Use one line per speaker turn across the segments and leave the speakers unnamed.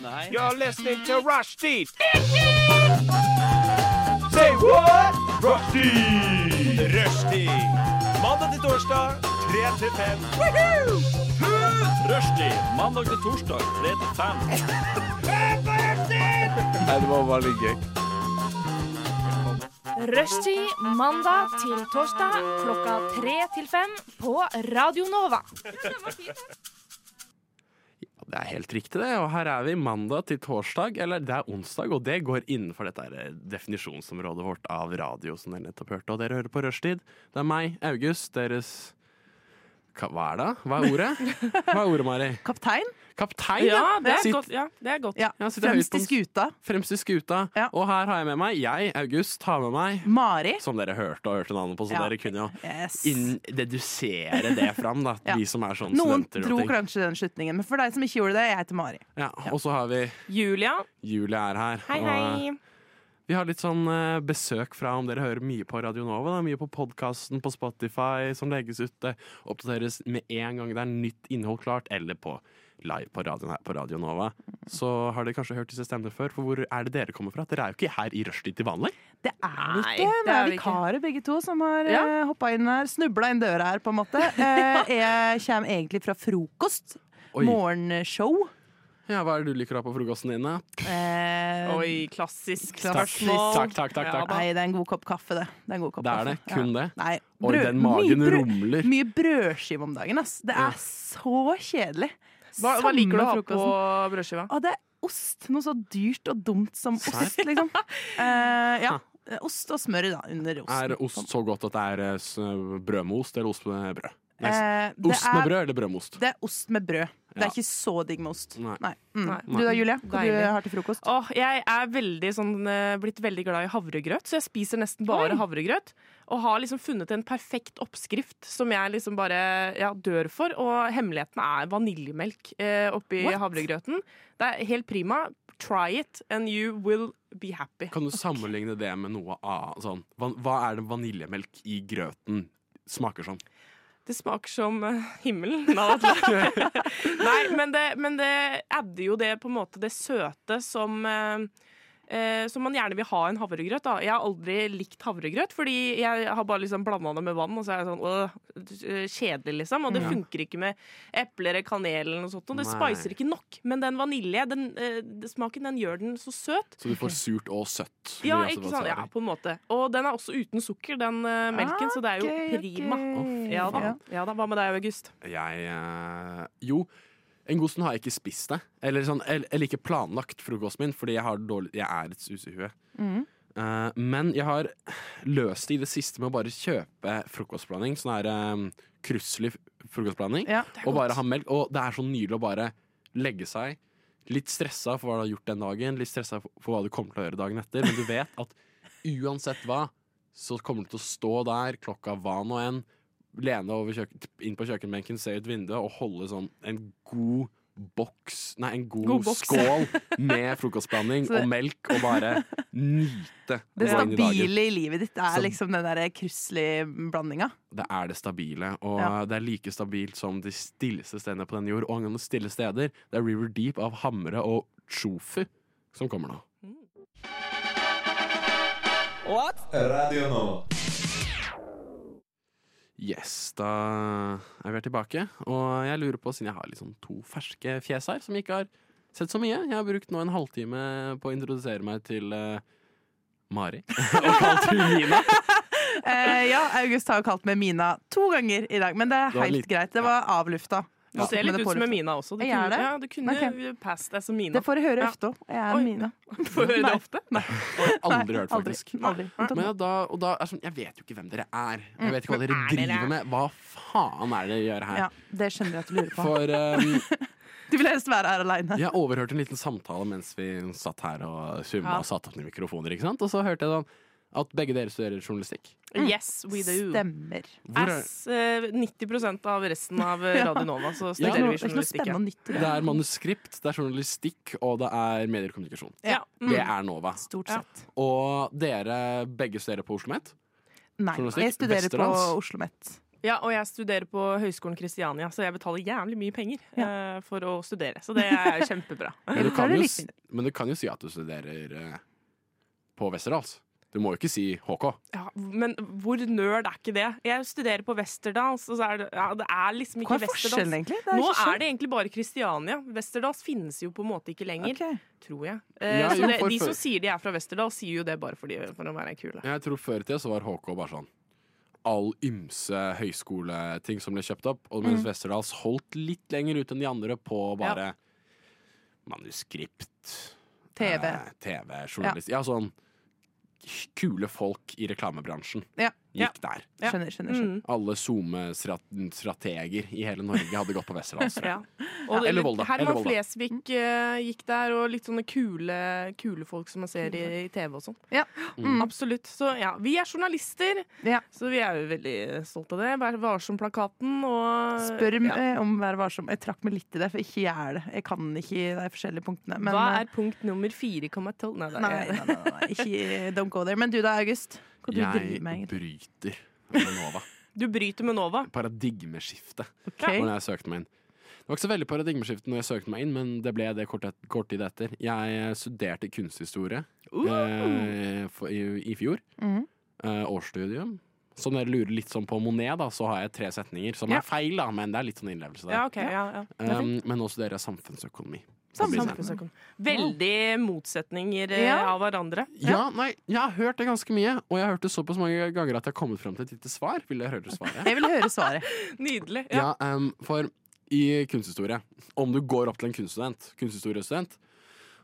Nei.
You're listening to Rushdie. Say what? Rushdie. Rushdie. Mandag til torsdag, 3 til 5. Rushdie. Mandag til torsdag, 3 til 5.
Nei, det var veldig gøy.
Rushtid mandag til torsdag klokka tre til fem på Radio Nova.
Ja, Det er helt riktig, det. Og her er vi mandag til torsdag, eller det er onsdag, og det går innenfor dette her eh, definisjonsområdet vårt av radio, som dere nettopp hørte. Og dere hører på Rushtid. Det er meg, August, deres Hva hva er det? Hva er ordet? Hva er ordet, Mari?
Kaptein?
Kaptein?
Ja, det er
Sitt-
godt. Ja, det er godt.
Ja.
Ja, sitter høyt
Fremst
på den
i
s-
skuta.
Fremst i skuta.
Ja.
Og her har jeg med meg Jeg, August, har med meg
Mari.
Som dere hørte og hørte navnet på, så
Ja.
dere kunne jo
Yes.
inn dedusere det fram, da.
Ja.
Vi som er sånn
Noen
studenter
dro
og ting.
kanskje den slutningen, men for deg som ikke gjorde det, jeg heter Mari.
Ja, og så har vi
Julia,
Julie er her.
hei,
og, eh,
hei.
Vi har litt sånn eh, besøk fra om dere hører mye på Radio Nova. Da, mye på podkasten på Spotify som legges ut. Det oppdateres med en gang det er nytt innhold klart, eller på live på radioen her på Radio Nova. Så har dere kanskje hørt disse stemmene før, for hvor er det dere kommer fra? Dere er jo ikke her i rushtid til vanlig.
Det er vi ikke.
Nei, det
Det
er
er
vi ikke.
vikarer begge to som har
Ja.
ja. hoppa inn her. Snubla inn døra her, på en måte. Eh, jeg kommer egentlig fra frokost.
Oi.
Morgenshow.
Ja, hva er det du liker å ha på frokosten din? da?
Eh,
Oi, klassisk
Takk.
spørsmål.
Takk, takk, takk, takk.
Ja,
Nei, det er en god kopp kaffe, det. Det er, en god kopp
Det er det.
kaffe.
Kun det.
Nei,
Oi,
brød-
den magen
mye brød-
rumler.
Mye brødskive om dagen, ass. Det
Ja.
er så kjedelig.
Hva, hva liker du å ha
Samme
på
frokosten.
brødskiva?
Å, det er ost. Noe så dyrt og dumt som
Serr?
ost, liksom. Eh, ja. Ost og smør da, under osten.
Er ost så godt at det er eh, s- brød med ost, eller ost med brød? Nei, s-
Eh, det
ost med
er-
brød eller brød med ost?
Det er ost med brød. Det
Ja.
er ikke så digg med ost.
Nei.
Mm.
Nei.
Du da, Julie? Hva du
Deilig.
har til frokost?
Åh, jeg er veldig sånn, eh, blitt veldig glad i havregrøt, så jeg spiser nesten bare havregrøt. Og har liksom funnet en perfekt oppskrift som jeg liksom bare ja, dør for. Og hemmeligheten er vaniljemelk eh, oppi
What?
havregrøten. Det er helt prima. Try it, and you will be happy.
Kan du sammenligne det med noe annet? Sånn, hva, hva er det vaniljemelk i grøten smaker som?
Det smaker som eh, himmelen. Nei, det- Nei, men det, men det adder jo det på en måte det søte som eh, eh, som man gjerne vil ha i en havregrøt. Da. Jeg har aldri likt havregrøt, fordi jeg har bare liksom blanda det med vann. Og så er jeg sånn, «Åh, øh, Kjedelig, liksom. Og det
Ja.
funker ikke med epler eller kanel. eller noe sånt. Og det
Nei.
spicer ikke nok. Men den vanilje, den, eh, den smaken, den gjør den så søt.
Så du får surt og søtt.
Ja,
blir også
ikke
hva
sant?
det er.
ja, på en måte. Og den er også uten sukker, den eh, melken, så det er jo prima.
Å,
Ja da.
Ja.
ja da. Hva med deg, August?
Jeg eh, Jo, en god stund har jeg ikke spist det. Eller, sånn, el- eller ikke planlagt frokosten min, fordi jeg, har dårlig, jeg er et susehue.
Mm.
Eh, men jeg har løst det i det siste med å bare kjøpe frokostblanding. Sånn her um, krysselig frokostblanding.
Ja.
og bare ha melk. Og det er så nydelig å bare legge seg. Litt stressa for hva du har gjort den dagen, litt stressa for for hva du kommer til å gjøre dagen etter. Men du vet at uansett hva, så kommer du til å stå der klokka hva nå enn, lene deg over kjøkken, inn på kjøkkenbenken, se ut vinduet og holde sånn en god boks Nei, en god,
God boks.
skål med frokostblanding
Så-
og melk, og bare nyte
Det
å gå inn i dagen.
stabile i livet ditt er
Så-
liksom den der krusselige blandinga.
det er det stabile. Og
Ja.
det er like stabilt som de stilleste stedene på denne jord. Og angående stille steder, det er River Deep av Hamre og Tjofu som kommer nå.
Radio Nova.
Yes, da er vi her tilbake. Og jeg lurer på, siden jeg har liksom to ferske fjes her, som jeg ikke har sett så mye Jeg har brukt nå en halvtime på å introdusere meg til eh, Mari. og kalt hun Mina.
Eh, ja, August har jo kalt meg Mina to ganger i dag, men det er
var
helt
litt-
greit. Det var avlufta.
Du ser litt ut som en Mina også. Du
Jeg er
kunne,
det?
ja, du kunne past deg som Mina.
Det får jeg høre
Ja.
ofte òg. Jeg er
Oi.
Mina.
Får høre det
Nei.
ofte.
Aldri hørt,
Aldri.
faktisk.
Aldri.
Men ja, da, og da er det sånn, Jeg vet jo ikke hvem dere er. Jeg vet ikke hva dere driver med. Hva faen er det dere gjør her?
Ja, det skjønner jeg at du lurer på.
For eh,
Du vil helst være her aleine.
Jeg overhørte en liten samtale mens vi satt her og summa
Ja.
og satte opp nye mikrofoner. ikke sant? Og så hørte jeg sånn at begge dere studerer journalistikk.
Yes, we do.
Mm. Stemmer.
Hvor er,
As eh, 90 av resten av eh,
Ja.
Radio Nova, så
Det er
studerer
ikke noe, det
vi
er ikke noe
journalistikk.
spennende
ja.
og nytt i
det
det.
er manuskript, det er journalistikk, og det er medier og kommunikasjon.
Ja.
Det
Mm.
er Nova.
Stort sett.
Og dere begge studerer på Oslo OsloMet.
Nei,
Journalistikk,
jeg studerer på
Vesterålens.
Oslo OsloMet.
Ja, og jeg studerer på Høgskolen Kristiania, så jeg betaler jævlig mye penger eh, for å studere. Så det er kjempebra.
Men du,
tar
kan
det
jo,
litt
s-
mindre.
men du kan jo si at du studerer eh, på Westerdals. Du må jo ikke si HK.
Ja, men hvor nerd er ikke det? Jeg studerer på Westerdals, og så er det, ja, det er liksom
Hva er
ikke
sånn.
Westerdals.
forskjellen, egentlig?
Nå er det egentlig bare Kristiania. Westerdals finnes jo på en måte ikke lenger, tror jeg. Eh,
Ja,
så
jo,
det,
for-
de
for-
som sier de er fra Westerdals, sier jo det bare fordi, for å være kule.
Jeg tror før i tida så var HK bare sånn all ymse høyskoleting som ble kjøpt opp, og
Mm.
mens Westerdals holdt litt lenger ut enn de andre på bare manuskript,
TV.
eh, TV, journalist Ja, sånn kule folk i reklamebransjen
Ja.
Ja.
gikk der.
Ja.
Skjønner, skjønner. skjønner.
Mm,
Alle SoMe-strateger i hele Norge hadde gått på Westerdals. tror jeg.
ja. Og
Eller Volda, eller
Herman
Volda.
Flesvig eh, gikk der, og litt sånne kule, kule folk som man ser i, i TV og sånn.
Ja.
Mm. Absolutt. Så ja, vi er journalister,
Ja.
så vi er jo veldig stolte av det. Vær varsom-plakaten og
Spør
ja.
eh, om Vær varsom. Jeg trakk meg litt i det, for ikke jeg er det. Jeg kan ikke de forskjellige punktene. Men,
Hva
eh,
er punkt nummer 4,12? Nei, det er-
Nei, nei, nei, nei, ikke Don't go there. Men du da, August? Hva du driver
Jeg
med, egentlig?
bryter Nova.
Du bryter med Nova.
Paradigmeskifte.
Ok.
Når jeg søkte meg inn. Det var ikke så veldig paradigmeskifte når jeg søkte meg inn, men det ble det kort, et, kort tid etter. Jeg eh, studerte kunsthistorie eh, for, i, i fjor.
Mhm.
Eh, årsstudium. Så når dere lurer litt sånn på Monet, da, så har jeg tre setninger som
Ja.
er feil, da, men det er litt sånn innlevelse der.
Ja, ok. Ja, ja.
um, men nå studerer jeg samfunnsøkonomi.
Samfunnsøkonomi.
Veldig motsetninger eh,
Ja.
av hverandre.
Ja, nei, jeg har hørt det ganske mye, og jeg har hørt det såpass mange ganger at jeg har kommet fram til et lite svar. Vil dere høre svaret?
Jeg vil høre svaret.
Nydelig. Ja.
Ja, em, for i kunsthistorie, om du går opp til en kunststudent, kunsthistoriestudent,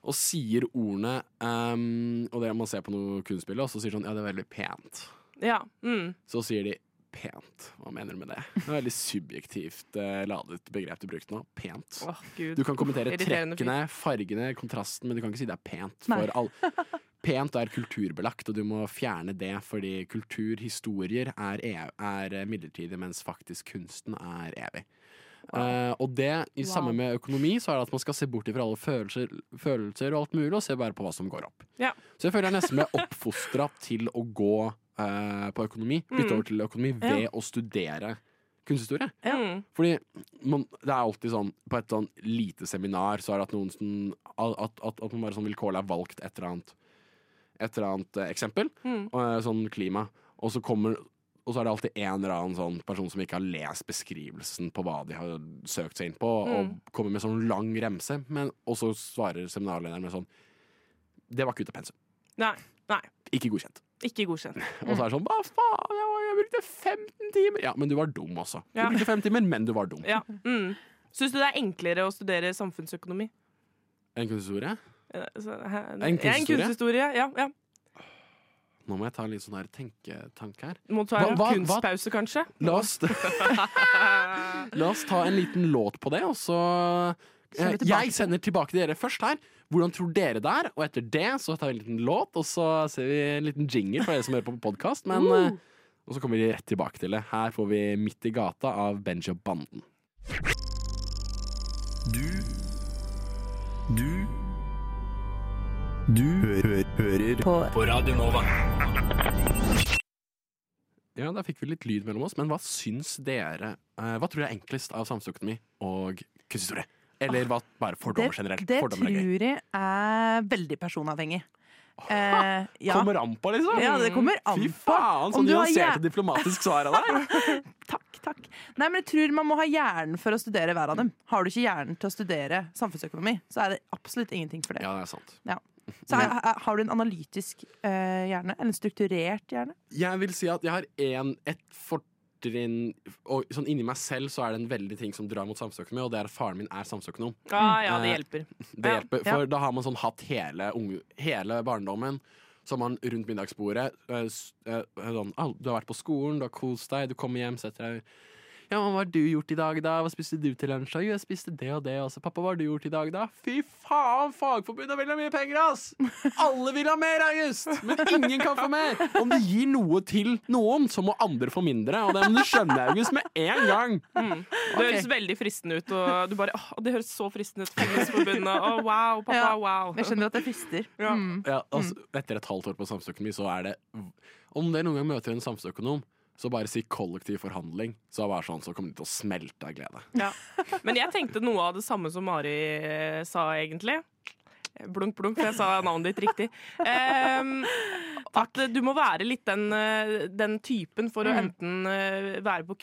og sier ordene em, Og det man ser på noe kunstbilde, og så sier sånn Ja, det er veldig pent.
Ja. Mm.
Så sier de pent. Hva mener du med det? Det er et veldig subjektivt eh, ladet begrep du brukte nå. Pent.
Åh, Gud.
Du kan kommentere
Irriterende fyr.
trekkene, fargene, kontrasten, men du kan ikke si det er pent.
Nei.
For all Pent er kulturbelagt, og du må fjerne det fordi kulturhistorier er, ev er midlertidig, mens faktisk kunsten er evig. Eh, og det, i samme med økonomi, så er det at man skal se bort ifra alle følelser, følelser og alt mulig, og se bare på hva som går opp.
Ja.
Så jeg føler jeg nesten ble oppfostra til å gå eh, på økonomi,
Mm.
bytte over til økonomi, ved å studere kunsthistorie.
Mm.
Fordi man, det er alltid sånn På et sånn lite seminar Så er det at noen sånn, at, at, at man bare sånn vilkårlig har valgt et eller annet Et eller annet eh, eksempel
Mm.
og, eh, Sånn klima Og så kommer og så er det alltid en eller annen sånn person som ikke har lest beskrivelsen på hva de har søkt seg inn på,
Mm.
og kommer med sånn lang remse, men, og så svarer seminarlederen med sånn Det var ikke ute av pensum.
Nei. Nei.
Ikke godkjent.
Ikke godkjent.
Og så er det sånn Hva faen, jeg, var- jeg brukte 15 timer! Ja, men du var dum også. Du
Ja.
brukte 5 timer, men du var dum.
Ja. Mm. Syns du det er enklere å studere samfunnsøkonomi?
En kunsthistorie?
Eh, så- hæ?
En kunsthistorie?
Ja, En kunsthistorie. Ja, ja.
Nå må jeg ta en litt sånn her tenketank her.
Må ta
Hva- Mm.
en
hva- hva-
kunstpause, kanskje?
La oss, la oss ta en liten låt på det, og så
Kjører vi
eh,
tilbake til-
Jeg sender tilbake til dere først her. Hvordan tror dere det er? Og etter det så tar vi en liten låt, og så ser vi en liten jingle for dere som hører på på podkast. Men
Uh.
eh, Og så kommer vi rett tilbake til det. Her får vi Midt i gata av Benji og Banden.
Du Du Du hø hø hører på. Radio Nova.
Ja, der fikk vi litt lyd mellom oss, men hva syns dere eh, Hva tror dere er enklest av samfunnsøkonomi og kunsthistorie? Eller hva, bare
Det,
fordommer generelt?
det
Fordommer
tror
er gøy.
jeg er veldig personavhengig. Eh, ja.
Kommer an på, liksom!
ja, det kommer an
Fy
på.
faen, så
om du har
nyansert
hjern-
og diplomatisk svar av deg!
Takk, takk. Nei, men jeg tror man må ha hjernen for å studere hver av dem. Har du ikke hjernen til å studere samfunnsøkonomi, så er det absolutt ingenting for det.
Ja, det er sant.
Så er, er, har du en analytisk eh, hjerne, eller en strukturert hjerne?
Jeg vil si at jeg har en, et fortrinn Og sånn inni meg selv så er det en veldig ting som drar mot samfunnsøkonomi, og det er at faren min er samfunnsøkonom.
Ja, Ah, ja, det
Eh,
hjelper.
Det
Ja,
hjelper,
ja.
for da har man sånn hatt hele, unge, hele barndommen. Så har man rundt middagsbordet øh, s- øh, sånn, «Au, Du har vært på skolen, du har kost deg, du kommer hjem, setter deg Ja, men hva har du gjort i dag, da? Hva spiste du til lunsj? Jo, jeg spiste det og det også. Pappa, hva har du gjort i dag, da? Fy faen, Fagforbundet vil ha mye penger, ass! Alle vil ha mer, August! Men ingen kan få mer! Om du gir noe til noen, så må andre få mindre. Og det må du skjønne, August, med en gang!
Det høres veldig fristende ut, og du bare åh, det høres så fristende ut. Fellesforbundet. Å, wow, pappa,
Ja.
wow.
Jeg skjønner at det frister.
Ja.
Mm.
Ja, altså, Etter et halvt år på samfunnsøkonomi, så er det Om dere noen gang møter en samfunnsøkonom Så bare si kollektiv forhandling, så, er det bare sånn, så kommer de til å smelte av glede.
Ja. Men jeg tenkte noe av det samme som Mari eh, sa, egentlig. Blunk, blunk, for jeg sa navnet ditt riktig. Ehm, at eh, du må være litt den, eh, den typen for
Mm.
å enten eh, være på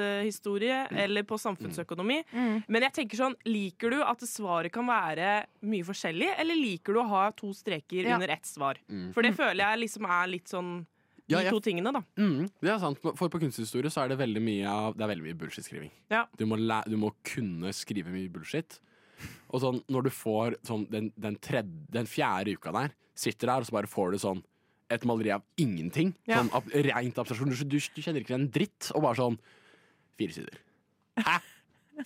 kunsthistorie eller på samfunnsøkonomi.
Mm.
Men jeg tenker sånn, liker du at svaret kan være mye forskjellig, eller liker du å ha to streker
Ja.
under ett svar? For det føler jeg liksom er litt sånn de
Ja, jeg-
to tingene, da.
Mm, det er sant, For på kunsthistorie så er det veldig mye av Det er veldig mye bullshit-skriving.
Ja.
Du, må læ- du må kunne skrive mye bullshit. Og sånn, når du får sånn, den, den, tredje, den fjerde uka der, sitter der og så bare får du sånn et maleri av ingenting.
Ja.
Sånn ab Rent abstraksjon. Du, du, du kjenner ikke en dritt. Og bare sånn Fire sider. Hæ?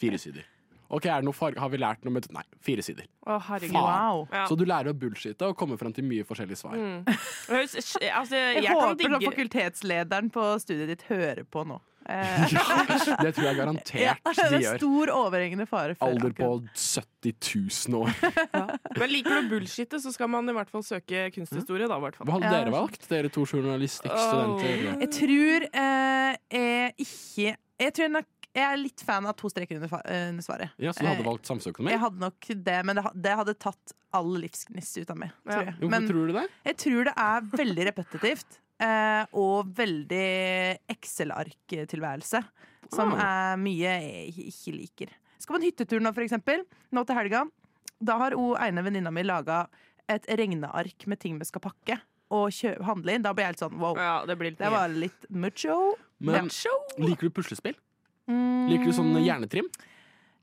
Fire sider. OK, er det noe farge? Har vi lært noe med Nei, fire sider.
Å, herregud.
Wow.
Ja.
Så du lærer å bullshitte og komme fram til mye forskjellige svar.
Høres- Altså, jeg,
Jeg,
kan
håper sånn
digge
fakultetslederen på studiet ditt hører på nå. Eh,
Ja, det tror jeg garantert
det
de
er
gjør.
stor overhengende fare for
Alder på
akkurat-
70 000 år.
Men liker du bullshit, så skal man i hvert fall søke kunsthistorie, da. i hvert fall.
Hva hadde
Ja,
dere valgt, dere to journalistikkstudenter?
Jeg tror eh, jeg ikke Jeg tror nok jeg er litt fan av to streker under, fa- eh, under svaret.
Ja, så du hadde
Eh,
valgt samfunnsøkonomi?
Jeg hadde nok det, men det, ha- det hadde tatt all livsgnist ut av meg. Tror
Ja.
jeg.
Hvorfor
Men
tror du det?
jeg tror det er veldig repetitivt. eh, og veldig Excel-ark-tilværelse. Som er mye jeg ikke- ikke liker. Skal på en hyttetur nå, for eksempel. Nå til helga. Da har O ene venninna mi laga et regneark med ting vi skal pakke og kjø handle inn. Da blir jeg helt sånn wow.
Ja, det blir litt
Det
mye.
var litt mucho.
Men liker du puslespill? Liker du sånn hjernetrim?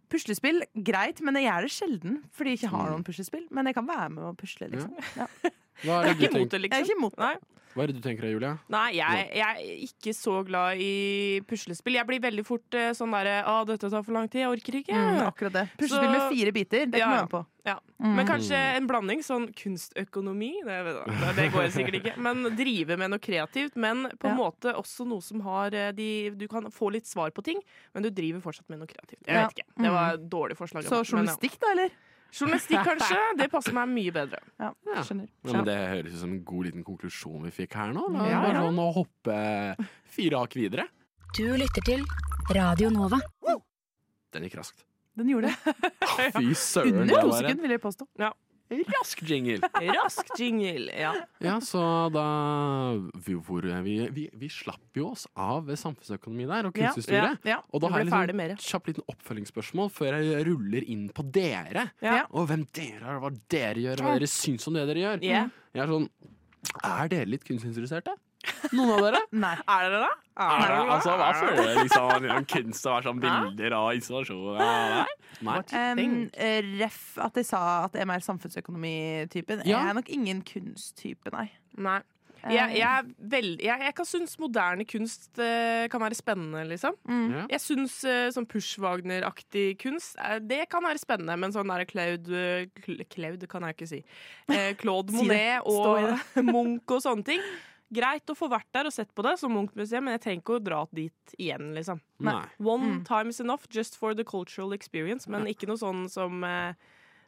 Puslespill, greit, men jeg gjør det sjelden. Fordi jeg ikke har noen puslespill. Men jeg kan være med og pusle, liksom. Ja.
Hva er det
Ikke
du
imot
tenker,
det,
Jeg er
liksom.
ikke imot det.
Nei,
Hva er det du tenker Julia?
Nei jeg, jeg er ikke så glad i puslespill. Jeg blir veldig fort eh, sånn derre Å, dette tar for lang tid. Jeg orker ikke.
Mm, akkurat det. Puslespill med
Så-
fire biter, det
Ja,
kan jeg være
ja.
med på.
Ja. Men kanskje en blanding. Sånn kunstøkonomi. Det, vet jeg- det- det går jeg sikkert ikke. Men drive med noe kreativt. Men på en måte også noe som har eh, de, Du kan få litt svar på ting, men du driver fortsatt med noe kreativt. Jeg
Ja. Mm.
vet ikke. Det var et dårlig forslag. av
Så
meg, men ja.
journalistikk, da, eller?
Journalistikk, kanskje. Det passer meg mye bedre.
Ja,
Ja.
skjønner.
Ja, men det høres ut som en god liten konklusjon vi fikk her nå. La
Ja,
bare
ja.
sånn å hoppe fire hakk videre.
Du lytter til Radio Nova.
Den gikk raskt.
Den gjorde det.
Fy søren. det
Under to
var en
sekunder, vil jeg påstå.
Rask jingle.
Rask jingle. Ja.
Ja, så da vi, hvor, er vi, vi, vi slapp jo oss av ved samfunnsøkonomi der, og
Ja,
kunsthistorie.
Ja.
Og da
Vi
har jeg
ble ferdig
liksom
med
et
det.
kjapt liten oppfølgingsspørsmål før jeg ruller inn på dere.
Ja.
Og hvem dere er, og hva dere gjør, og hva dere syns om det dere gjør.
Ja.
Jeg er sånn Er dere litt kunstinteresserte? Noen av dere?
Nei.
Er dere det?
Er dere, altså, hva føler dere liksom gjennom kunst og sånn bilder og installasjoner? Ja, Nei. Nei.
Um, eh, ref at jeg sa at jeg er mer samfunnsøkonomitypen.
Ja.
Jeg er nok ingen kunsttype, nei.
Nei. Jeg,
Eh.
jeg, er veld- jeg, jeg kan synes moderne kunst eh, kan være spennende, liksom.
Mm.
Ja.
Jeg syns eh, sånn Pushwagner-aktig kunst, eh, det kan være spennende. Men sånn der Claude eh, Cl- Claude kan jeg ikke si. Eh, Claude
Si det.
Monet
Stå i
og Munch og sånne ting. Greit å få vært der og sett på det som Munch-museet, men jeg trenger ikke å dra dit igjen, liksom.
Nei.
Mm.
One time is enough just for the cultural experience, men ikke noe sånn som eh,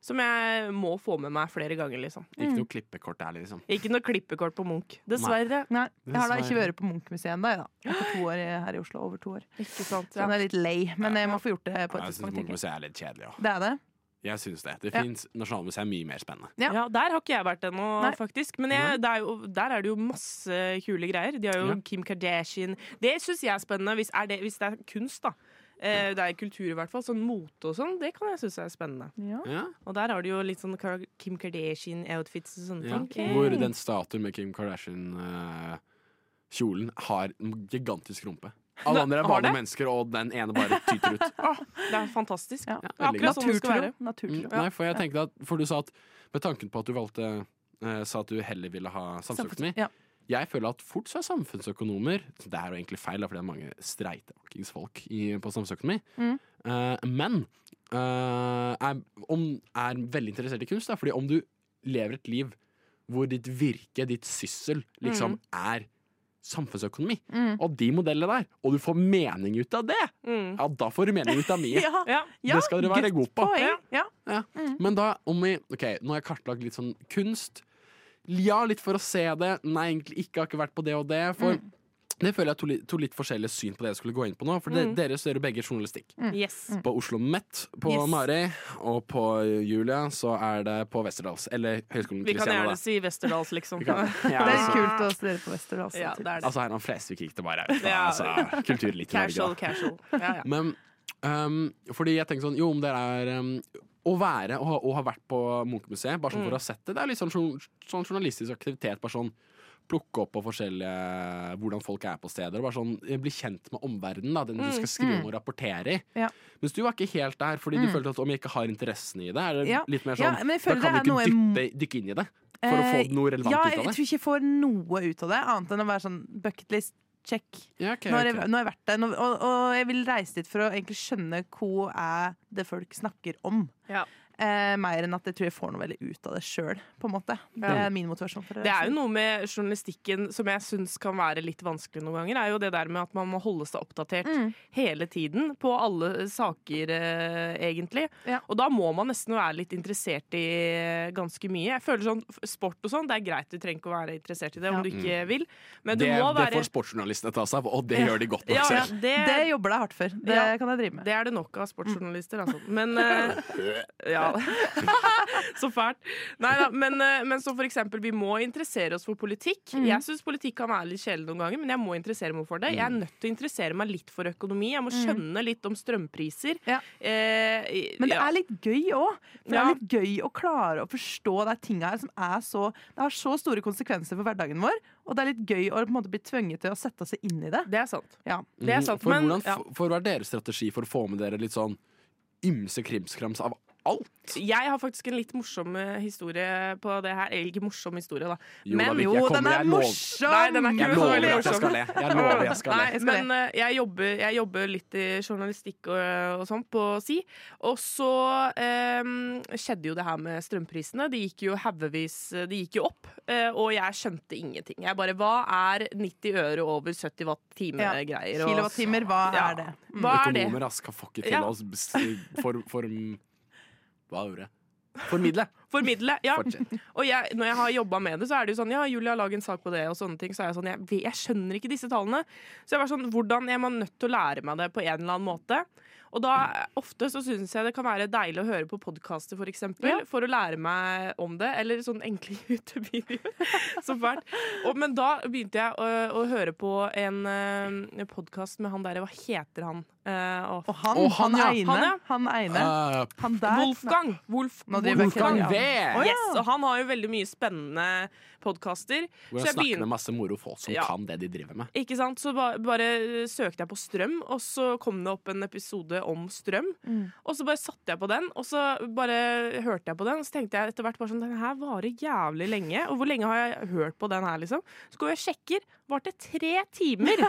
som jeg må få med meg flere ganger, liksom.
Mm.
Ikke noe klippekort der, liksom.
Ikke noe klippekort på Munch. Dessverre.
nei. Jeg har da ikke
Dessverre.
vært på Munch-museet ennå, jeg, da. Etter to år eh, her i Oslo. Over to år.
Ikke
Sånn
sant?
Så den er litt lei, men jeg må få gjort det på et
Jeg syns
tidspunkt. tenker jeg.
Munch-museet er litt kjedelig òg.
Det er det?
Jeg syns det. Det
Ja.
fins Nasjonalmuseet er mye mer spennende.
Ja.
Ja. der har ikke jeg vært ennå,
Nei.
faktisk. Men jeg, det er jo, der er det jo masse kule greier. De har jo
Ja.
Kim Kardashian. Det syns jeg er spennende, hvis, er det, hvis det er kunst, da. Eh, det er kultur, i hvert fall. Sånn mote og sånn, det kan jeg synes er spennende.
Ja.
Og der har de jo litt sånn Kar- Kim Kardashian-outfits og sånne
Ja.
ting.
Hvor den statuen med Kim Kardashian-kjolen har en gigantisk rumpe. Alle andre er
har det?
vanlige mennesker, og den ene bare tyter ut.
Det er fantastisk.
Ja.
Det er akkurat sånn det skal være.
Naturtro. naturtro.
Mm, Nei, for jeg tenkte at For du sa at med tanken på at du valgte eh, Sa at du heller ville ha samfunnsøkonomi.
ja.
Jeg føler at fort så er samfunnsøkonomer så Det er jo egentlig feil, da, for det er mange streitfuckings folk i, på samfunnsøkonomi.
Mm.
Eh, men eh, er, om, er veldig interessert i kunst. Da, fordi om du lever et liv hvor ditt virke, ditt syssel, liksom
Mm.
er samfunnsøkonomi, og de modellene der, og du får mening ut av det, ja, da får du mening ut av mye.
Ja.
Mm. Ja.
det skal dere være
godt
gode på.
Poeng.
Ja.
Ja.
Ja.
Mm.
Men da, om vi Ok, nå har jeg kartlagt litt sånn
Mm.
kunst. Ja, litt for å se det. Nei, egentlig ikke. Har ikke vært på det og det. For Det føler jeg to, li- to litt forskjellige syn på det jeg skulle gå inn på nå. For de,
Mm.
dere studerer begge journalistikk.
Mm.
Yes.
På Oslo Met, på
Yes.
Mari og på Julia så er det på Westerdals. Eller Høgskolen
Vi kan
Kristiania.
gjerne si Westerdals, liksom.
Vi kan- Ja.
Det er kult å studere på Westerdals.
Ja, det er det.
Altså her han Flesvig gikk det bare ut fra.
Ja.
Altså, kultur litt i Norge,
Casual,
da.
casual. Ja, ja.
Men ehm, fordi jeg tenker sånn Jo, om det er ehm, å være og, ha- og ha vært på Munchmuseet, bare sånn
Mm.
for å ha sett det, det er litt sånn, jour- sånn journalistisk aktivitet. Bare sånn plukke opp på forskjellige hvordan folk er på steder. Og bare sånn eh, bli kjent med omverdenen, da, den du skal skrive om og rapportere i.
Mm, Ja. Mm.
Mens du var ikke helt der, fordi du følte at om jeg ikke har interessen i det, er det
Ja.
litt mer
Ja,
sånn
men jeg
Da
føler
kan du
det er
ikke
noe-
dyppe, dykke inn i det for å få
Eh,
noe relevant
ja,
ut av
jeg
det.
tror ikke jeg får noe ut av det, annet enn å være sånn bucketlist, check.
Ja, ok,
Nå har jeg,
ok.
nå har jeg vært der, nå, og, og jeg vil reise dit for å egentlig skjønne hva er det folk snakker om.
Ja.
Eh, mer enn at jeg tror jeg får noe veldig ut av det sjøl, på en måte. Det
Ja.
er min motivasjon. for å
Det
reise.
er jo noe med journalistikken som jeg syns kan være litt vanskelig noen ganger. er jo det der med at man må holde seg oppdatert
Mm.
hele tiden på alle saker, eh, egentlig.
Ja.
Og da må man nesten være litt interessert i eh, ganske mye. Jeg føler sånn f- Sport og sånn, det er greit, du trenger ikke å være interessert i
Ja.
det om du ikke vil, men du
Mm. Det,
må
det
være
får sportsjournalistene ta seg av, og det gjør de godt nok
ja, ja,
selv.
det,
det jobber jeg hardt for. Det
Ja.
kan jeg drive med.
det er det nok av sportsjournalister, altså. Men eh, Ja. så fælt. Nei da. Men, eh, men så for eksempel, vi må interessere oss for politikk.
Mm.
Jeg syns politikk kan være litt kjedelig noen ganger, men jeg må interessere meg for det. Jeg er
Mm.
nødt til å interessere meg litt for økonomi. Jeg må skjønne litt om strømpriser.
Ja.
Eh,
Men det
ja.
er litt gøy òg. For Det
Ja.
er litt gøy å klare å forstå de tinga her som er så Det har så store konsekvenser for hverdagen vår, og det er litt gøy å på en måte bli tvunget til å sette seg inn i det.
det er sant.
Ja.
Det er sant,
Mm, for,
men-
hvordan,
ja.
f- for hva er deres strategi for å få med dere litt sånn ymse krimskrams av alt?
Jeg har faktisk en litt morsom eh, historie på det her. Eller ikke morsom historie, da. Men
Vicky,
jo,
jeg
den
kommer,
er
jeg lover-
morsom!
Nei, den er ikke
Jeg
så
lover at
veldig
jeg
morsom.
skal le. Jeg lover jeg skal
Nei,
le.
Jeg skal
men eh, jeg jobber, jeg jobber litt i journalistikk og, og sånn på si. Og så eh, skjedde jo det her med strømprisene. De gikk jo haugevis De gikk jo opp. eh, og jeg skjønte ingenting. Jeg bare Hva er 90 øre over 70 watt time-greier? og-
Kilowattimer, hva
Ja.
er det?
Hva er det? Mm.
Økonomer ass, skal få ikke til
Ja.
å s- for, for Hva gjorde jeg? Formidle.
Formidle. Ja.
Fortsett.
Og jeg, når jeg har jobba med det, så er det jo sånn Ja, Julia, lag en sak på det, og sånne ting. Så er jeg sånn Jeg, vet- jeg skjønner ikke disse tallene. Så jeg var sånn Hvordan er man nødt til å lære meg det på en eller annen måte? Og da ofte så syns jeg det kan være deilig å høre på podkaster, for eksempel, for å lære meg om det. Eller sånn enkle YouTube-videoer. Så fælt. Og, men da begynte jeg å, å høre på en uh, podkast med han derre Hva heter han? Eh, å,
Og han,
Og han,
han,
ja.
ene,
Han, ja.
han ene,
Uh,
han der
Wolfgang! Wolf,
Nå driver jeg ikke
Wolfgang.
Wolfgang
Ja.
V!
Å, ja.
Yes, og han har jo veldig mye spennende podkaster.
Hvor jeg
Så jeg
snakker
begynte
med masse moro folk som
Ja.
kan det de driver med.
ikke sant? Så ba bare øh, søkte jeg på strøm, og så kom det opp en episode om strøm.
Mm.
Og så bare satte jeg på den, og så bare hørte jeg på den. Og så tenkte jeg etter hvert bare sånn Den her varer jævlig lenge. Og hvor lenge har jeg hørt på den her, liksom? Så går jeg og sjekker. Varte tre timer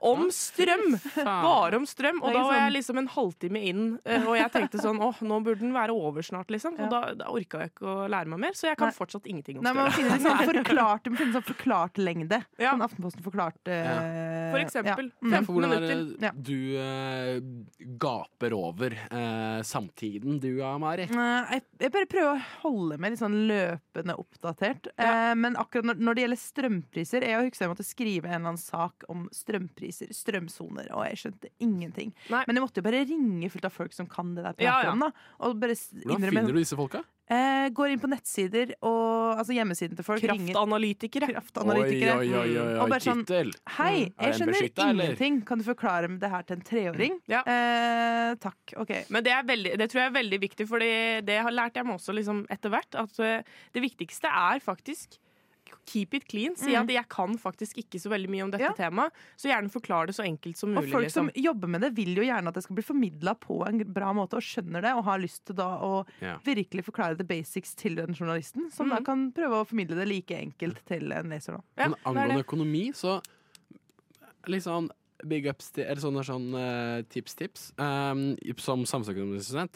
om strøm! Bare om strøm.
Det
Og
er
da
ikke
var jeg
sånn-
liksom en halvtime inn, eh, og jeg tenkte sånn åh, nå burde den være over snart, liksom. Og da, da orka jeg ikke å lære meg mer, så jeg kan
Nei.
fortsatt ingenting om
Nei, man
strøm.
må finne litt sånn forklart, man må finne sånn forklart lengde.
Ja.
Sånn Aftenposten forklart eh,
For eksempel.
Ja.
Ja,
Mm.
for
15
hvordan er
minutter.
det du eh, gaper over eh, samtiden du har, Mari?
Mm,
Eh, Jeg, jeg bare prøver å holde meg litt sånn løpende oppdatert. Eh, men akkurat når, når det gjelder strømpriser Jeg husker jeg måtte skrive en eller annen sak om strømpriser, strømsoner, og jeg skjønte ingenting.
Nei.
Men jeg måtte jo bare ringe fullt av folk som kan det der. på
Ja, ja.
nettet, Da, og bare s-
Hvordan
innrømme-
finner du disse folka?
Eh, går inn på nettsider og altså hjemmesiden til folk. ringer-
Kraftanalytikere.
Kraftanalytikere.
Oi, oi,
Mm,
oi,
Og
oi,
bare sånn,
tittel.
Hei,
Er
jeg
den
skjønner
beskyttet, eller?
ingenting. Kan du forklare det her til en treåring?
Ja.
Eh, takk. OK.
Men det, er veldig, det tror jeg er veldig viktig, for det har lært jeg meg også liksom, etter hvert. At eh, det viktigste er faktisk keep it clean. Si at jeg kan faktisk ikke så veldig mye om dette
Ja.
temaet, så gjerne forklar det så enkelt som
Og
mulig.
folk som
liksom.
jobber med det, vil jo gjerne at det skal bli formidla på en bra måte, og skjønner det, og har lyst til da å
Ja. Mm.
virkelig forklare the basics til den journalisten, som da kan prøve å formidle det like enkelt til en leser, da.
Ja,
Men
det er
angående
det.
økonomi, så liksom big ups til Eller sånne sånn tips-tips. Ehm, som samfunnsøkonomistudent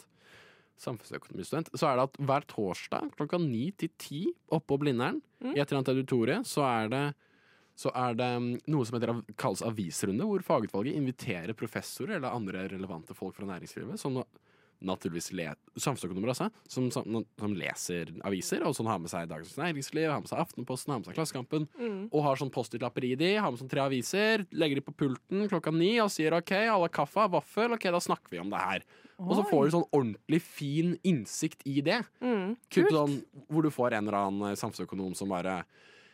Samfunnsøkonomistudent Så er det at hver torsdag klokka ni til ti oppe på Blindern,
Mm.
i et eller annet auditorium, så er det så er det mm, noe som heter, av- kalles avisrunde, hvor fagutvalget inviterer professorer eller andre relevante folk fra næringslivet som naturligvis le samfunnsøkonomer også, som, som, som leser aviser, og som har med seg Dagens Næringsliv, har med seg Aftenposten, har med seg Klassekampen, og har sånn Post-It-lapper i de, har med sånn tre aviser, legger de på pulten klokka ni og sier OK, alle har kaffe, vaffel, OK, da snakker vi om det her. Og så får du sånn ordentlig fin innsikt i det.
Mm.
Kutt sånn, hvor du får en eller annen eh, samfunnsøkonom som bare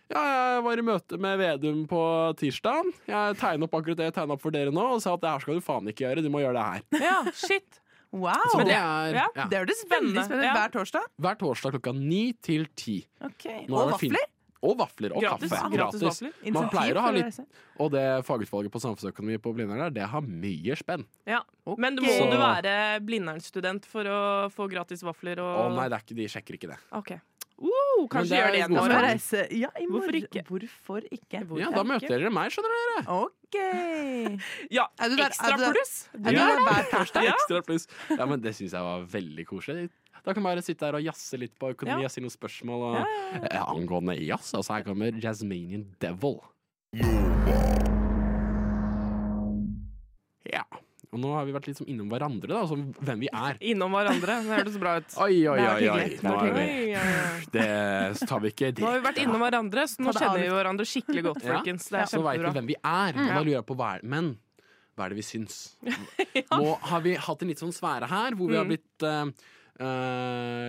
ja, jeg var i møte med Vedum på tirsdag. Jeg tegna opp akkurat det jeg tegna opp for dere nå, og sa at det her skal du faen ikke gjøre, du må gjøre det her.
Ja, shit.
Så
Wow!
det er
ja,
ja,
Det høres veldig
Spennende,
spennende
ja.
ut hver torsdag.
hver torsdag klokka ni til ti. Nå har
Og
det vært fint.
vafler.
Og vafler. Og
Gratis,
kaffe.
gratis
Gratis.
vafler.
Man
Insentiv
pleier å
for
ha litt
reise.
Og det fagutvalget på samfunnsøkonomi på Blindern der, det har mye spenn.
Ja. Men må
Så-
du være Blindern-student for å få gratis vafler og
Å nei, det er ikke, de sjekker ikke det.
OK. Uh,
Men
kanskje
det er
gjør det en
god
Må
gang.
erfaring.
reise. Ja, i morgen.
Hvorfor ikke?
Hvorfor ikke?
Ja, Da møter dere meg, skjønner dere.
OK.
Ja,
Er du der-
ekstra
er du der-
pluss.
Er du der hver torsdag?
Ja.
Ekstra pluss. Ja, men det syns jeg var veldig koselig. Da kan man bare sitte her og jazze litt på økonomi
Ja.
og si noen spørsmål og, Eh, angående jazz. Altså, her kommer Jasminian Devil. Ja. Og nå har vi vært litt sånn innom hverandre, da, som hvem vi er.
Innom hverandre. Det hørtes bra ut.
Oi, oi, oi.
Det har vært
oi.
hyggelig.
Nå er vi
Oi, ja, ja.
Det tar vi ikke
Nå har vi vært innom hverandre, så nå
Ta det
kjenner vi
av.
hverandre skikkelig godt,
Ja.
folkens. Det er
Så veit vi
kjempebra.
hvem vi er. Og da lurer jeg på hva er, Men hva er det vi syns? Nå har vi hatt en litt sånn sfære her, hvor vi har
Mm.
blitt eh, eh,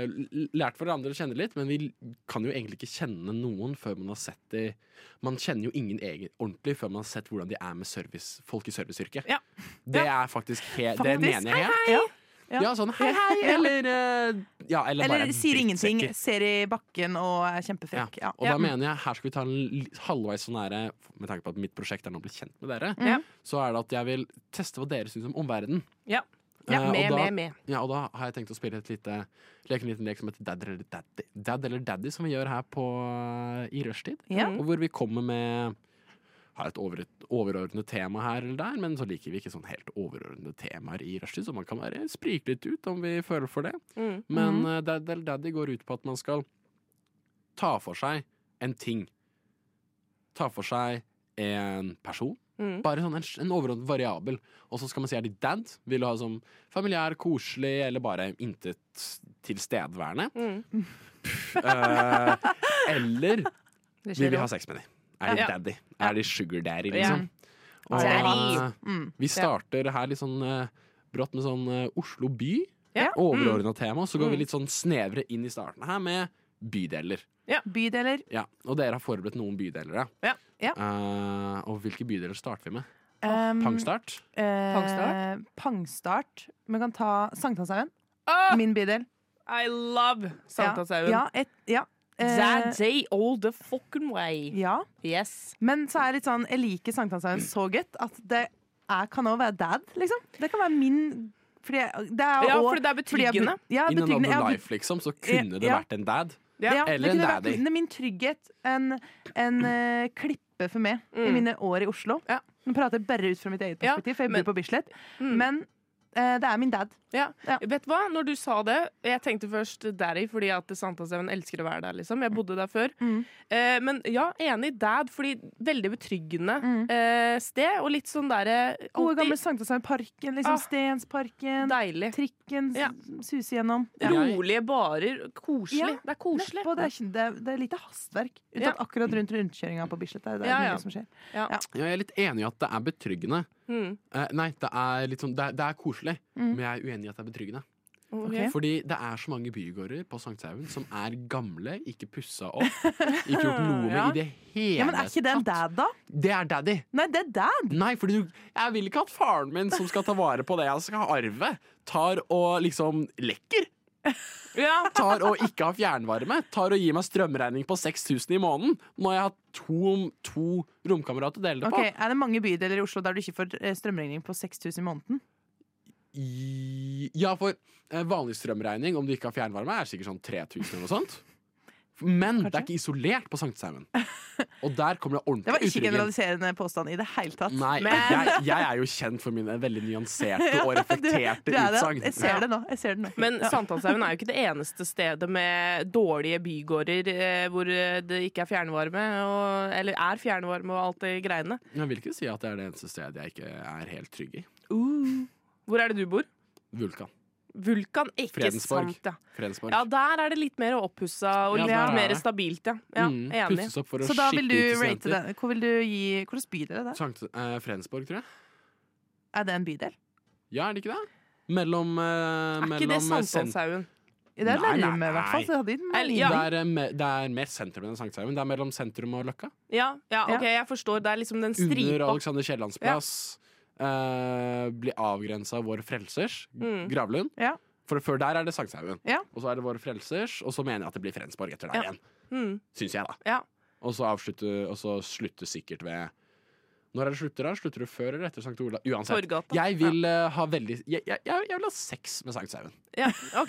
l- lært hverandre å kjenne litt, men vi l- kan jo egentlig ikke kjenne noen før man har sett de Man kjenner jo ingen egen ordentlig før man har sett hvordan de er med service, folk i serviceyrket.
Ja.
Det er faktisk he, Det
Faktisk.
mener jeg helt.
Ja.
Ja. sånn hei, hei, eller eh, Ja, eller,
Eller
bare
sier ingenting,
drittsekker.
ser i bakken og er
Ja.
kjempefrekk. Ja.
Og da mener jeg her skal vi ta en li- halvveis sånn her Med tanke på at mitt prosjekt er nå å bli kjent med dere,
Ja.
så er det at jeg vil teste hva dere syns om omverdenen.
Ja.
Eh,
Ja,
og
med,
da-
med, med.
Ja, og da har jeg tenkt å spille et lite leke en liten lek som heter Dad eller Daddy, Dad eller Daddy som vi gjør her på, eh, i rushtid.
Ja.
Og hvor vi kommer med har et over, overordnet tema her eller der, men så liker vi ikke sånn helt overordnede temaer i rushtid, så man kan være sprike litt ut om vi føler for det.
Mm.
Men eh, Dad eller Daddy går ut på at man skal ta for seg en ting. Ta for seg en person.
Mm.
Bare sånn en, en overordnet variabel. Og så skal man si er de dad? Vil du ha som familiær, koselig eller bare intet tilstedeværende?
Mm.
Eh, eller
Det
vil
skjer
vi
jo.
ha sex med de? Er de
Ja.
daddy? Er de sugar daddy,
Ja.
liksom? Og, eh,
Daddy.
Mm.
vi starter her litt sånn eh, brått med sånn eh, Oslo by.
Ja.
Overordna tema. Så går vi litt sånn snevre inn i starten her med bydeler.
Bydeler.
Ja, Og dere har forberedt noen bydeler,
Ja.
Ja.
Eh, og hvilke bydeler starter vi med?
Um,
Pangstart?
eh,
Pangstart?
Pangstart. Vi kan ta Sankthanshaugen.
Ah,
Min bydel.
I love Sankthanshaugen.
Ja, et, ja. Eh,
day all the fucking way.
ja.
Yes.
Men så er det litt sånn, jeg liker Sankthanshaugen så godt at det er, kan også være dad, liksom. Det kan være min fordi jeg, det er
Ja,
også-
fordi det er
fordi jeg-
betryggende.
Ja,
In
betryggende.
another
Ja,
life, liksom, så kunne det
Ja.
vært en dad.
Ja,
Ja,
eller
det kunne
en
vært
daddy.
min- Min trygghet. En, en eh, klippe for meg i
Mm.
mine år i Oslo.
Ja.
Nå prater jeg bare ut fra mitt eget
Ja,
perspektiv, for jeg
men- Mm.
bor på Bislett. Men eh, det er min dad.
Ja.
Ja.
Vet du hva, når du sa det Jeg tenkte først daddy, fordi at Sankthanshaugen elsker å være der. liksom Jeg bodde der før.
Mm.
Eh, men ja, enig dad, fordi veldig betryggende
Mm.
eh, sted. Og litt sånn derre
Gode gamle
alltid
Sankthansheimparken,
Ah.
liksom Stensparken,
deilig.
trikken s-
Ja.
suser gjennom.
Ja.
Rolige barer. Koselig.
Ja.
Det er koselig.
Nedpå, det, er, ikke- det, er, det er lite hastverk. Unntatt
Ja.
akkurat rundt rundkjøringa på Bislett. Der, det er
Ja, ja.
mye som skjer.
Ja, jeg er litt enig i at det er betryggende.
Mm.
Eh, nei, det er, litt sånn, det, er, det er koselig, men
Mm.
jeg er uenig i at det er betryggende.
Ok.
Fordi det er så mange bygårder på Sankthanshaugen som er gamle, ikke pussa opp, ikke gjort noe med
Ja.
i det hele
Ja, men er ikke det en dad, da?
Det er daddy.
Nei, det er dad!
Nei, fordi du, jeg vil ikke at faren min, som skal ta vare på det jeg skal arve, tar og liksom lekker.
Ja.
Tar og ikke har fjernvarme. Tar og gir meg strømregning på 6000 i måneden når jeg har to, to romkamerater å dele det
Ok, Er det mange bydeler i Oslo der du ikke får eh, strømregning på 6000 i måneden?
på. I, ja, for eh, vanlig strømregning, om du ikke har fjernvarme, er sikkert sånn 3000 eller noe sånt. Men det er ikke isolert på Sankthanshaugen. Og der kommer det
Det var
ordentlig
ikke
utryggen.
generaliserende påstand i det hele tatt.
Nei, jeg, jeg er jo kjent for mine veldig nyanserte og reflekterte
Du er det.
utsagn.
Jeg ser det nå. Jeg ser det nå.
Men Sankthanshaugen er jo ikke det eneste stedet med dårlige bygårder eh, hvor eh, det ikke er fjernvarme, og, eller er fjernvarme og alt det greiene.
Jeg vil ikke si Uh. at det er det eneste stedet jeg ikke er helt trygg i.
Hvor er det du bor?
Vulkan.
Vulkan, ikke
Fredensborg.
sant, ja.
Fredensborg.
Ja, der er det litt mer oppussa og
Ja,
litt
der er
mer
det.
stabilt, ja. ja
Mm,
Enig.
Pusses opp for å
Så da vil
skippe
du
ut til
rate
studenter.
den. Hvor vil du gi Hvordan bydel er det?
Sankt, eh, Fredensborg, tror jeg.
Er det en bydel?
Ja, er det ikke det? Mellom, eh,
Er ikke det
mellom sen-
Sankthanshaugen?
Det er
Nei, nei,
Lerum, i hvert fall.
nei.
Så hadde de den
Eller,
Det
ja.
er, eh, me- det er mer sentrum enn Sankthanshaugen. Det er mellom sentrum og Løkka.
Ja, ja,
Ja.
OK, jeg forstår. Det er liksom den
Under
stripa.
Alexander Kiellands plass. eh, blir avgrensa av Vår Frelsers,
Mm.
Gravlund.
Ja.
For før der er det Sankthanshaugen.
Ja.
Og så er det Vår Frelsers, og så mener jeg at det blir Fredensborg etter der
Ja.
igjen.
Mm.
Syns jeg, da.
Ja.
Og så avslutte, og så slutte sikkert ved Når er det slutter, da? Slutter du før eller etter Sankt Olav? Uansett.
Torgata.
Jeg vil eh, ha veldig jeg, jeg, jeg, jeg vil ha sex med Sankthanshaugen.
Ja, OK.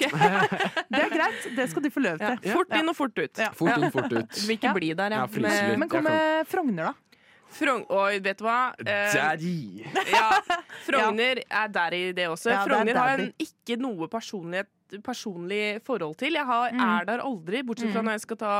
Det er greit, det skal du få løv
Ja.
til.
Fort inn og fort ut.
Ja.
Fort inn, fort ut.
Vil ikke bli der,
Ja,
jeg.
fryser
Med-
litt.
Eh, Men hva
Jeg
med Frogner, da?
Frogn... Oi, vet du hva? Eh,
Daddy.
ja, Frogner er der i det også.
Ja, det er
Frogner har jeg
daddy.
ikke noe personlighet, personlig forhold til. Jeg har,
Mm.
er der aldri, bortsett fra når jeg skal ta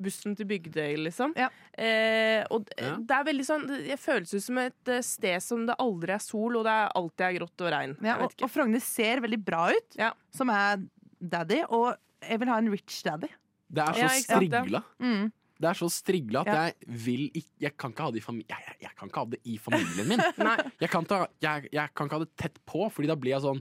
bussen til Bygdøy, liksom.
Ja.
Eh, og d-
Ja.
det er veldig sånn Det føles ut som et eh, sted som det aldri er sol, og det er alltid er grått og regn.
Ja,
jeg
og,
vet ikke.
og Frogner ser veldig bra ut,
Ja.
som er daddy. Og jeg vil ha en rich daddy.
Det er så
Ja, ikke sant, ja.
strigla.
Mm.
Det er så strigla at
Ja.
jeg vil ikke Jeg kan ikke ha det i, fami jeg, jeg, jeg kan ikke ha det i familien min.
Nei.
Jeg kan, ta, jeg, jeg kan ikke ha det tett på, Fordi da blir jeg sånn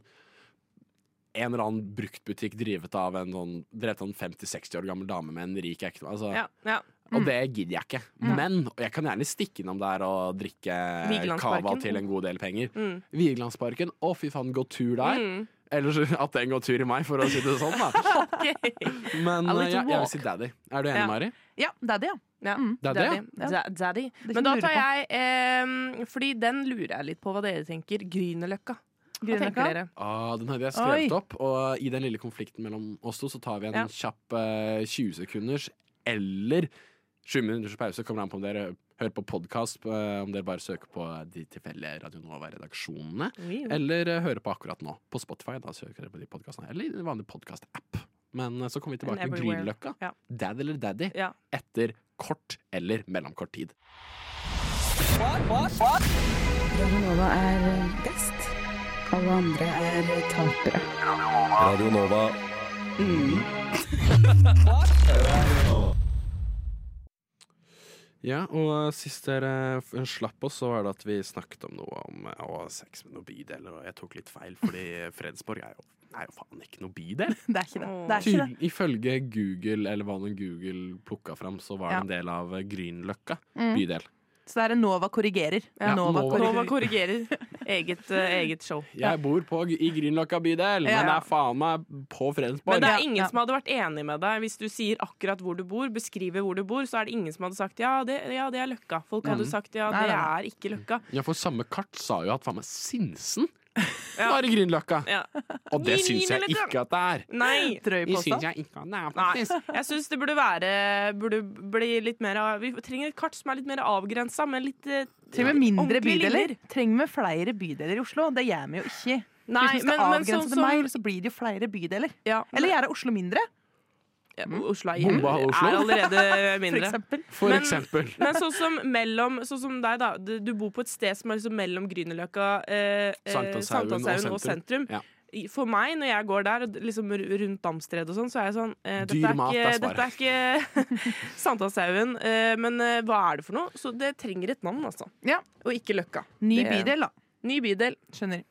en eller annen bruktbutikk drevet av en sånn, drevet av en 50-60 år gammel dame med en rik ektemann. Altså,
Ja, Mm. ja.
Og det gidder jeg ikke. Men og jeg kan gjerne stikke innom der og drikke
Vigelandsparken.
cava til en god del penger.
Mm.
Vigelandsparken, å fy faen, gå tur der.
Mm.
Eller så- at den går tur i meg, for å si det sånn. da Men
A
eh,
little
jeg, jeg vil
walk.
si daddy. Er du enig,
Ja.
Mari?
Ja, daddy, ja.
Ja,
Det er det,
daddy.
ja.
Da- daddy.
Mm. ikke
Men da
noe å
tar
lure
jeg eh, Fordi den lurer jeg litt på hva dere tenker. Grünerløkka. Hva
Grünerløkka?
tenker dere?
Ah, den hadde jeg skrevet
Oi.
opp, og i den lille konflikten mellom oss to så tar vi en
Ja.
kjapp eh, 20 sekunders eller 7 minutters pause. Kommer an på om dere hører på podkast, om dere bare søker på de tilfeldige Radio Nova-redaksjonene.
Mm.
Eller eh, høre på akkurat nå på Spotify. Da søker dere på de podcastene Eller i en vanlig podkast-app. Men eh, så kommer vi tilbake
And
til
everywhere.
Grünerløkka.
Ja.
Dad eller daddy
Ja.
etter kort eller mellomkort tid.
Radio Nova er eh, best. Alle andre er eh, tapere.
Radio Nova.
Mm. Ja, og eh, sist dere f- slapp oss, så var det at vi snakket om noe om eh, å, sex med noen bydeler, og jeg tok litt feil, fordi Fredsborg er jo, er jo faen ikke noe bydel.
Det er ikke det. det, er ikke det.
Tydel, ifølge Google, eller hva nå Google plukka fram, så var det en del av eh, Grünerløkka bydel.
Så det er en Nova korrigerer.
Ja,
Nova
Nova.
korrigerer.
Nova korrigerer eget, eh, eget show.
Jeg bor på, i Grünerløkka bydel,
Ja.
men det er faen meg på Fredsborg.
Men det er
Ja,
ingen
ja.
som hadde vært enig med deg hvis du sier akkurat hvor du bor, beskriver hvor du bor, så er det ingen som hadde sagt ja, det, ja, det er Løkka. Folk hadde sagt ja,
Mm. Nei,
det
nei,
er ikke Løkka.
Ja, for samme kart sa jo at faen meg Sinsen
Ja.
var i Grünerløkka.
Ja.
Og det
Min-
syns jeg
min lille
ikke at det er.
Nei!
Drøy
Det syns
påstand.
jeg ikke at det er,
Nei,
faktisk.
jeg syns det burde være burde bli litt mer av- Vi trenger et kart som er litt mer avgrensa, men litt eh,
Trenger vi mindre
ordentlige
bydeler?
linjer.
Trenger vi flere bydeler i Oslo? Det gjør vi jo ikke.
Nei,
Hvis vi
men,
skal
men
avgrense
sånn
til meg,
som
så blir det jo flere bydeler.
ja,
Eller gjøre Oslo mindre,
ja, Oslo er,
Bomba
er
Oslo.
allerede
for
mindre.
eksempel.
For
Men-
eksempel.
Men sånn som, mellom, sånn som deg, da. Du, du bor på et sted som er liksom mellom Grünerløkka, eh, eh,
Sankthanshaugen og
Sankthanshaugen og sentrum.
Ja.
I- For meg, når jeg går der, og d- liksom r- rundt Damstredet og sånn, så er jeg sånn eh,
Dyr
Dette er
mat
ikke,
er svaret.
dette er ikke Sankthanshaugen, eh, men eh, hva er det for noe? Så det trenger et navn, altså.
Ja.
Og ikke Løkka.
Ny
Det-
bydel, da.
Ny bydel.
Skjønner.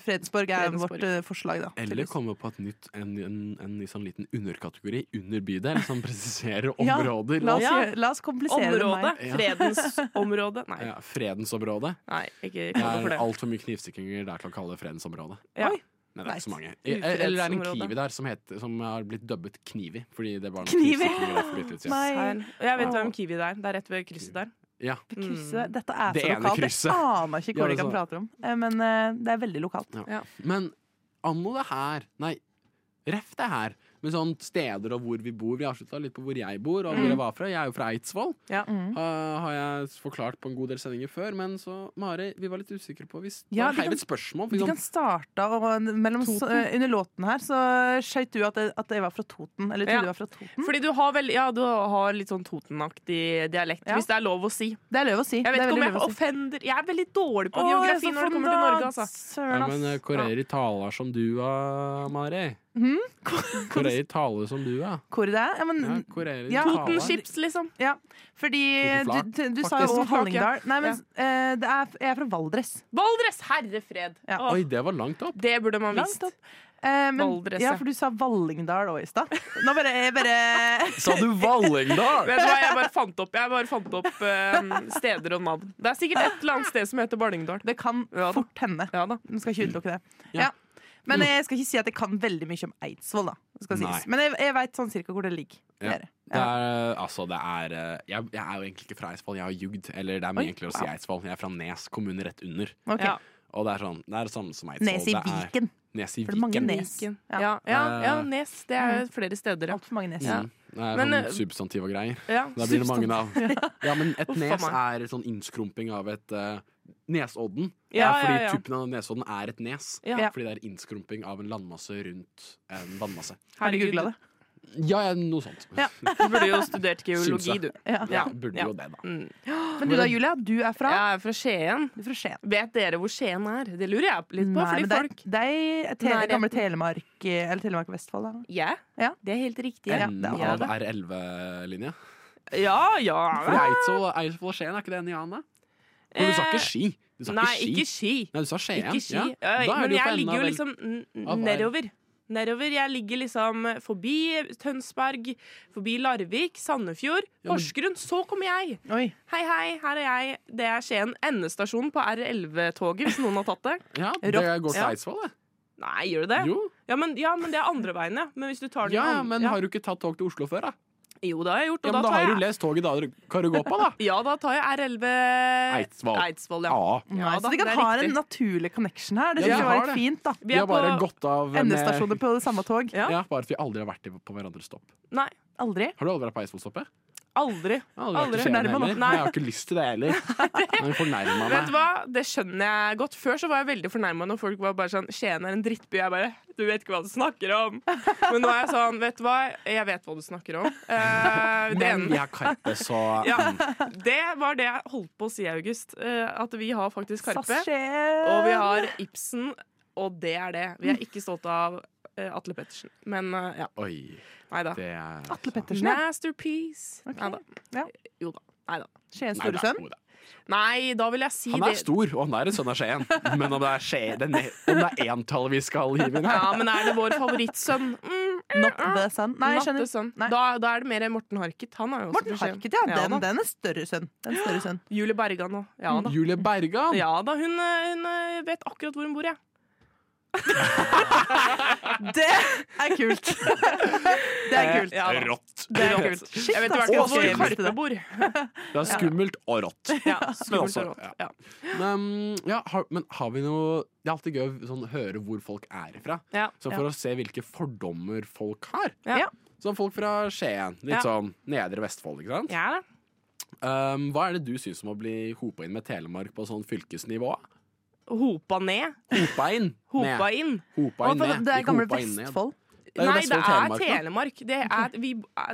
Fredensborg er
Fredensborg.
vårt eh, forslag, da.
Eller komme på et nytt, en, en, en ny sånn liten underkategori under bydel, som presiserer
Ja,
områder.
La oss,
Ja.
gjøre- la oss komplisere
Område.
Ja.
Fredensområde. Nei,
ja, fredensområdet.
nei ikke
Det
kall det for
er
det.
altfor mye knivstikkinger der til å kalle det fredensområdet.
Ja.
Oi.
Men det er ikke så
Nice.
mange. E- Eller det er en
Ufredsområdet.
Kiwi der som, heter, som har blitt dubbet Knivi. Fordi det var noen
Knivi?
knivstikkinger der for litt siden.
Nei.
Her. Og jeg vet hvem Kiwi det er. Det er rett ved krysset der.
Ja.
meg.
Mm.
Krysset. Dette er
Det
så
ene
lokalt.
krysset.
Jeg aner ikke
Ja,
hvor de
det
kan
sa-
prate om, Eh, men eh, det er veldig lokalt.
Men anno det her Nei, ref det her Men sånn steder og hvor vi bor Vi avslutta litt på hvor jeg bor, og
Mm.
hvor jeg var fra. Jeg er jo fra Eidsvoll.
Ja.
Har- har jeg forklart på en god del sendinger før. Men så, Mari, vi var litt usikre på hvis ja,
Ja, vi
Heiv
kan-
et spørsmål.
Vi
for
kan
sånn,
starte, og eh, mellom, så, under låten her så eh, skjøt du at jeg, at jeg var fra Toten. Eller jeg
Ja.
trodde du var fra Toten.
Fordi du har, vel, ja, du har litt sånn Totenaktig dialekt,
Ja.
hvis det er lov å si.
Det er lov å si.
Jeg vet
det er
ikke om
veldig
jeg
lov å si.
offender Jeg er veldig dårlig på
Å, jeg er
geografi
så
når det kommer til Norge,
fornøyd.
altså.
Søren,
ja,
ass.
men eh, koreer taler som du, ah, Mari.
Mm-hmm.
Koreer taler som du, ah.
Hvor det er? Ja, men,
ja. Koreer
Ja.
taler.
Toten chips, liksom.
Fordi eh, du,
Totenflak,
du, du sa
faktisk.
jo Hallingdal. Nei, men
Ja.
eh, det er, jeg er fra Valdres.
Valdres, herre fred!
Ja.
Åh,
Oi, det var langt opp.
det burde man
Langt
visst.
opp. Eh, men,
Valdres,
ja,
ja.
for du sa Vallingdal òg i stad. Nå bare, jeg bare
Sa du Vallengdal?
Vet du hva, jeg bare fant opp, jeg bare fant opp eh, steder og navn. Det er sikkert et eller annet sted som heter Barningdal.
Det kan
Ja da.
fort hende.
Ja da.
Man skal ikke utelukke det.
Ja.
Ja. Men jeg skal ikke si at jeg kan veldig mye om Eidsvoll. da det skal
Nei.
sies. Men jeg, jeg veit sånn cirka hvor det ligger.
Ja.
Dere.
Det
Ja.
er, altså, det er eh, jeg, jeg er jo egentlig ikke fra Eidsvoll, jeg har ljugd. Eller det er mye
Oi,
enklere å si
wow.
Eidsvoll. Jeg er fra Nes kommune rett under.
Ok.
Ja.
Og det er sånn, det er det samme som Eidsvoll.
Nes i
det er-
Viken.
Nes i
For det er mange
Viken.
nes.
Viken.
Ja. Mm.
Ja, ja, ja,
Eh.
Nes. Det er jo flere steder, ja.
Altfor mange nes.
Ja.
Mm. Det er
Men,
sånn
eh,
substantiv og greier.
ja.
Da blir det mange navn. Ja, men et
Uff, a
nes
meg.
er sånn innskrumping av et eh, Nesodden.
Ja,
fordi
ja, ja.
tuppen av Nesodden er et nes.
Ja.
Fordi det er innskrumping av en landmasse rundt en vannmasse.
Har du googla det?
Ja, ja, noe sånt.
Du burde jo studert
Syns
geologi,
jeg.
du.
Ja.
Ja,
Ja,
burde
ja.
jo det, da.
Mm.
Men du da, Julia? Du er fra,
Jeg er fra Skien.
du er fra Skien.
Vet dere hvor Skien er? Det lurer jeg litt på.
Nei,
fordi
men det er-
folk
det er te
Nærheten.
gamle Telemark eh, Eller Telemark og Vestfold, da.
Ja,
Ja.
det er helt riktig. Ja,
Enden
det er
av
det.
R11-linja.
ja. ja.
For Eidsvoll Eidsvoll og Skien, er ikke det en i annen, da? Men du sa ikke
Eh,
Ski. Du sa
Nei,
ikke
ikke
Ski.
Ski.
Nei, du sa Skien.
Ikke ski.
Ja.
Ja,
Da er
men
du på
jeg
enden
ligger
av
jo
vel-
liksom n-
av hver.
n- nedover. Nedover. Jeg ligger liksom forbi Tønsberg, forbi Larvik, Sandefjord,
Ja, men-
Porsgrunn. Så kommer jeg!
Oi.
Hei, hei, her er jeg. Det er Skien. Endestasjonen på R11-toget, hvis noen har tatt det.
Ja, det
Rått.
går til
Ja.
Eidsvoll, det.
Nei, gjør det det?
Jo.
Ja men, ja, men det er andre veien, ja. Men hvis du tar den
Ja, ja,
andre-
men
ja.
har du ikke tatt tog til Oslo før, da?
Jo, det har jeg gjort. Og
Ja, men
da,
da
tar
har
jeg...
du lest toget da du- kan du gå på, da.
Ja, da tar jeg R11
Eidsvoll. Ah.
Eidsvoll ja.
Ja.
Ja,
Nei,
da,
så de kan
det er
ha
riktig.
en naturlig connection her. Det
Ja,
synes
de
jeg var
har det.
litt fint. da
Vi
Vi
er
har bare
på
gått av med-
Endestasjoner på det samme tog.
Ja.
Ja, bare at vi aldri har vært i- på hverandres stopp.
Nei,
Aldri.
Har du aldri vært på Eidsvollstoppet?
aldri.
Jeg har Aldri vært i
Aldri.
Skien
Fornærma nå.
heller. Nei,
Nei.
Jeg har ikke lyst til det heller. Han fornærma
Vet du
meg.
hva? Det skjønner jeg godt. Før så var jeg veldig fornærma når folk var bare sånn Skien er en drittby. Jeg bare Du vet ikke hva du snakker om. Men nå er jeg sånn Vet du hva? Jeg vet hva du snakker om. Eh, det,
Men vi
ene.
har Karpe, så
Ja, det var det jeg holdt på å si i august. eh, at vi har faktisk Karpe.
SAS Skien.
Og vi har Ibsen. Og det er det. Vi er ikke stolte av eh, Atle Pettersen. Men eh, ja.
Oi,
Nei da.
det er
Atle Pettersen. ja.
Masterpiece. Neida.
Ja.
Jo da. Nei da.
Skien
Nei, det er-
storesønn.
jo, det er-
Nei, da vil jeg si
Han er
det.
stor, og han er en sønn av Skien. Men om det er Skien, den- om det er entall vi skal hive inn her
Ja, men er det vår favorittsønn? Mm,
Not the son. Nei, jeg skjønner.
Nattesønn.
Nei.
liksom. Da, da er det mer Morten Harket. Han er jo også
Morten
fra Skien.
Harket, altså, ja. Den,
da.
den er større sønn. Den er større sønn.
Julie Bergan òg. Ja da.
Julie Bergan!
Ja da, hun, eh, hun eh, vet akkurat hvor hun bor, ja.
Det er kult! Det er kult.
Ja, da.
Rått.
Det er
kult.
kult.
Shit, altså.
Jeg vet i
ass.
hvert fall hvor
Og skummelt.
Karpe bor.
Det er skummelt og rått.
Ja,
Men
skummelt
også-
og rått. Ja.
Men, um, ja, har, men har vi noe Det er alltid gøy å sånn, høre hvor folk er ifra.
Ja.
Så for å se hvilke fordommer folk har.
Ja.
Ja.
Sånn folk fra Skien, litt
Ja.
sånn Nedre Vestfold, ikke sant?
Ja, da.
Um, hva er det du syns om å bli hopa inn med Telemark på sånn fylkesnivå?
Hopa ned.
Hopa inn!
Hopa
ned.
inn.
Hopa
Og
inn
for
ned.
Det er
ikke
gamle
hopa inn ned.
Vestfold.
Det er jo
Nei, det
Vestfold og
er
Telemark, da.
Telemark. Det er, vi,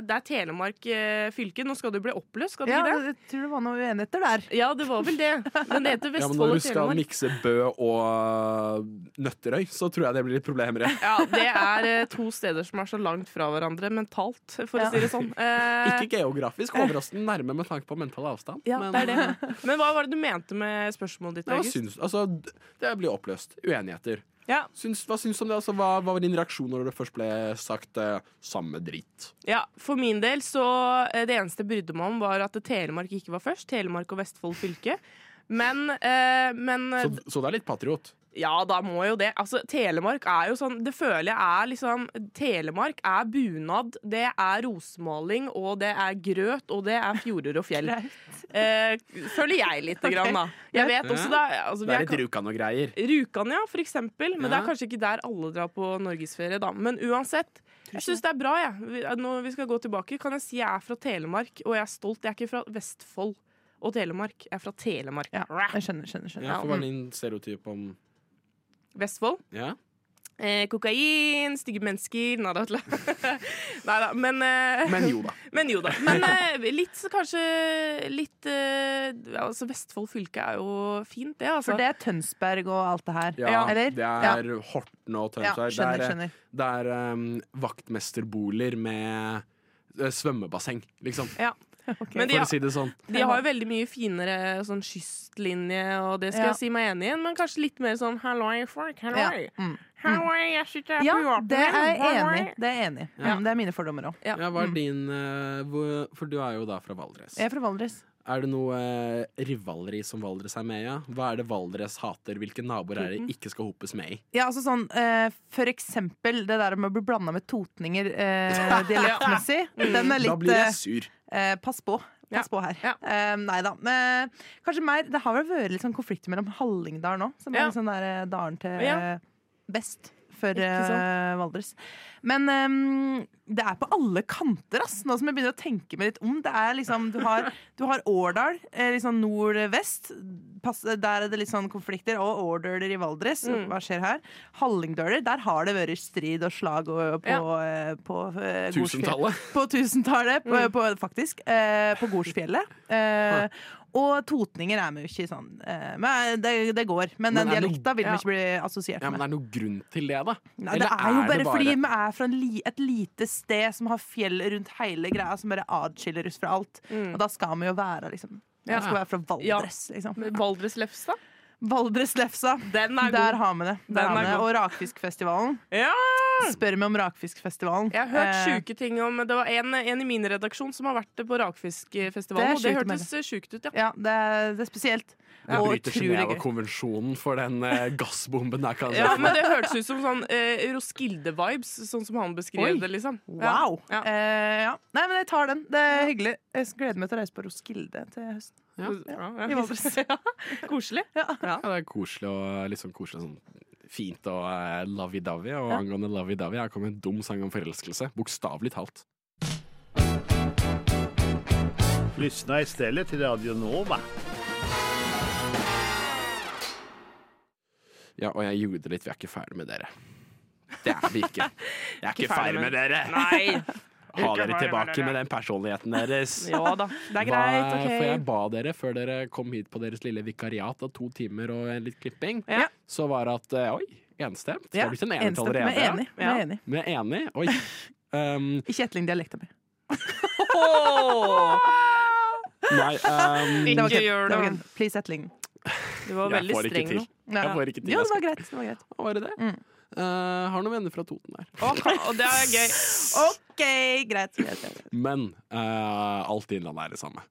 det er Telemark eh, fylke. Nå skal det bli oppløst, skal det
Ja,
ikke det?
jeg tror det var noen uenigheter der.
Ja, det var vel det. Den
Ja,
heter
men
Vestfold
når
og
du skal
Telemark.
mikse Bø og øh, Nøtterøy, så tror jeg det blir litt problemer. ja.
Ja, det er eh, to steder som er så langt fra hverandre mentalt, for
Ja.
å si det sånn. Eh,
Ikke geografisk, overraskende nærme med tanke på mental avstand.
Ja,
men
det er det. Men hva var det du mente med spørsmålet ditt?
Nei, hva
August?
syns, altså, d- det blir oppløst. Uenigheter.
Ja.
Syns, hva syns du om det? Altså, hva, hva var din reaksjon når det først ble sagt eh, 'samme dritt'?
Ja, For min del så eh, Det eneste jeg brydde meg om, var at Telemark ikke var først. Telemark og Vestfold fylke. Men, eh, men
Så, så det er litt patriot.
Ja, da må jo det. Altså, Telemark er jo sånn Det føler jeg er liksom Telemark er bunad, det er rosmaling, og det er grøt, og det er fjorder og fjell. Eh, føler jeg lite grann, da. Jeg vet også da altså, vi
Det er
er
litt Rjukan og greier.
Rjukan, ja, for eksempel. Men det
Ja.
er kanskje ikke der alle drar på norgesferie, da. Men uansett, Jeg syns det er bra, jeg. Vi- Når vi skal gå tilbake, kan jeg si jeg er fra Telemark, og jeg er stolt. Jeg er ikke fra Vestfold og Telemark. Jeg er fra Telemark.
Ja, jeg skjønner, skjønner, skjønner.
Ja, for hva er din stereotyp om
Vestfold.
Ja?
Eh, kokain, stygge mennesker Nei da, Men, eh,
Men jo da.
Men jo da. Men eh, litt så kanskje litt eh, Altså Vestfold fylke er jo fint, det, altså.
For det er Tønsberg og alt det her.
Ja,
Eller?
Det er Horten og øh,
Ja,
Tønsberg.
skjønner,
det er,
skjønner.
det er em, vaktmesterboliger øh, med eh, svømmebasseng, liksom.
Ja. Men de,
For å si det sånn.
de har jo veldig mye finere sånn kystlinje, og det
Ja.
skal jeg si meg enig i, men kanskje litt mer sånn Halloi, folk.
Ja.
Halloi.
Mm.
Halloi, jeg sitter her
Ja,
på yachten.
det er jeg
Halloi.
enig i. Det er jeg enig i.
Ja.
Mm, Det er mine fordommer òg.
Ja.
Ja, hva er din eh, hvor- For du er jo da fra Valdres.
Jeg er fra Valdres.
Er det noe eh, rivaleri som Valdres er med i? Ja? Hva er det Valdres hater? Hvilke naboer er
Mm.
det ikke skal hopes med i?
Ja, altså sånn, eh, for eksempel det der med å bli blanda med totninger eh, dialektmessig. Den er litt
Da blir
eh,
jeg sur.
Eh, pass på.
Ja.
Pass på her.
Ja.
Eh, nei da. Men, eh, kanskje mer, det har vel vært litt sånn konflikter mellom Hallingdal nå, som
Ja.
er liksom der eh, dalen til
Ja.
eh, vest for
Ikke sant?
eh, Valdres. Men eh, det er på alle kanter, ass, nå som jeg begynner å tenke meg litt om. Det er liksom, du har, du har Årdal, eh, liksom nord-vest. Pass- Der er det litt sånn konflikter. Og Årdøler i Valdres.
Mm.
Hva skjer her? Hallingdøler, der har det vært strid og slag og, på, eh, på eh, Godsfjell
Tusentallet.
på tusentallet, på, på, faktisk, eh, på Gorsfjellet. Eh, og totninger er vi jo ikke sånn eh, Men det, det går.
Men
Men den
er det-
dialekta vil vi
ja.
ikke bli assosiert
Ja, men
med.
er det noen grunn til det, da?
Nei, det
Eller
er jo
det
bare, fordi vi er fra en li, et lite sted som har fjell rundt hele greia, som bare adskiller oss fra alt. Og da skal vi jo være liksom
Ja.
Vi skal være fra Valdres, liksom.
Men Valdres Lefstad.
Valdres-lefsa.
Den er
Der
god.
har vi det. Der
Den
har
er
vi det.
god.
Og Rakfiskfestivalen.
Ja!
Spør meg om Rakfiskfestivalen.
Jeg har hørt
Eh,
sjuke ting om Det var en, en i min redaksjon som har vært på
Det er
Rakfiskfestivalen, og det
sjukt,
hørtes sjukt ut, ja.
Ja, det, er- det er spesielt.
Det
og
bryter
utrolig gøy.
Genéva-konvensjonen for den eh, gassbomben der, kan jeg
Ja,
si.
men det hørtes ut som sånn eh, Roskilde-vibes, sånn som han beskrev
Oi.
det, liksom. Ja.
Wow!
Ja.
Eh, ja. Nei, men jeg tar den. Det er hyggelig. Jeg gleder meg til å reise på Roskilde til høsten.
Ja.
I Valdres.
Ja. Koselig.
Ja, det er koselig og litt sånn koselig og sånn fint og eh, lovey-dovey. Og angående lovey-dovey, her kommer en dum sang om forelskelse. Bokstavelig talt.
Lyssna istället till Radio Nova.
Ja, og jeg gjorde det litt. Vi er ikke ferdig med dere. Det er vi ikke. Jeg er ikke ferdig med dere.
Nei.
Ha dere tilbake med den personligheten deres.
Ja da. Det
Hva-
er greit.
For jeg
OK.
ba dere før dere kom hit på deres lille vikariat av to timer og litt klipping,
Ja.
så var det at eh, Oi, enstemt. Har du ikke en enighet
enstemt.
allerede?
Men enig. Men
Ja.
enig.
Vi er enig. Oi. Um,
Ikke etterlign-dialekta mi.
nei, um,
Ikke gjør det.
Please etterlign.
Du var
jeg
veldig
får ikke
streng nå.
til.
Ja.
Jeg får ikke til. Jeg
Jo, det
skal-
var greit. Det var greit.
Hva var det det?
Mm.
Eh, har noen venner fra Toten der.
Å, og det er gøy.
OK, greit. greit, greit.
Men eh, alt i Innlandet er det samme.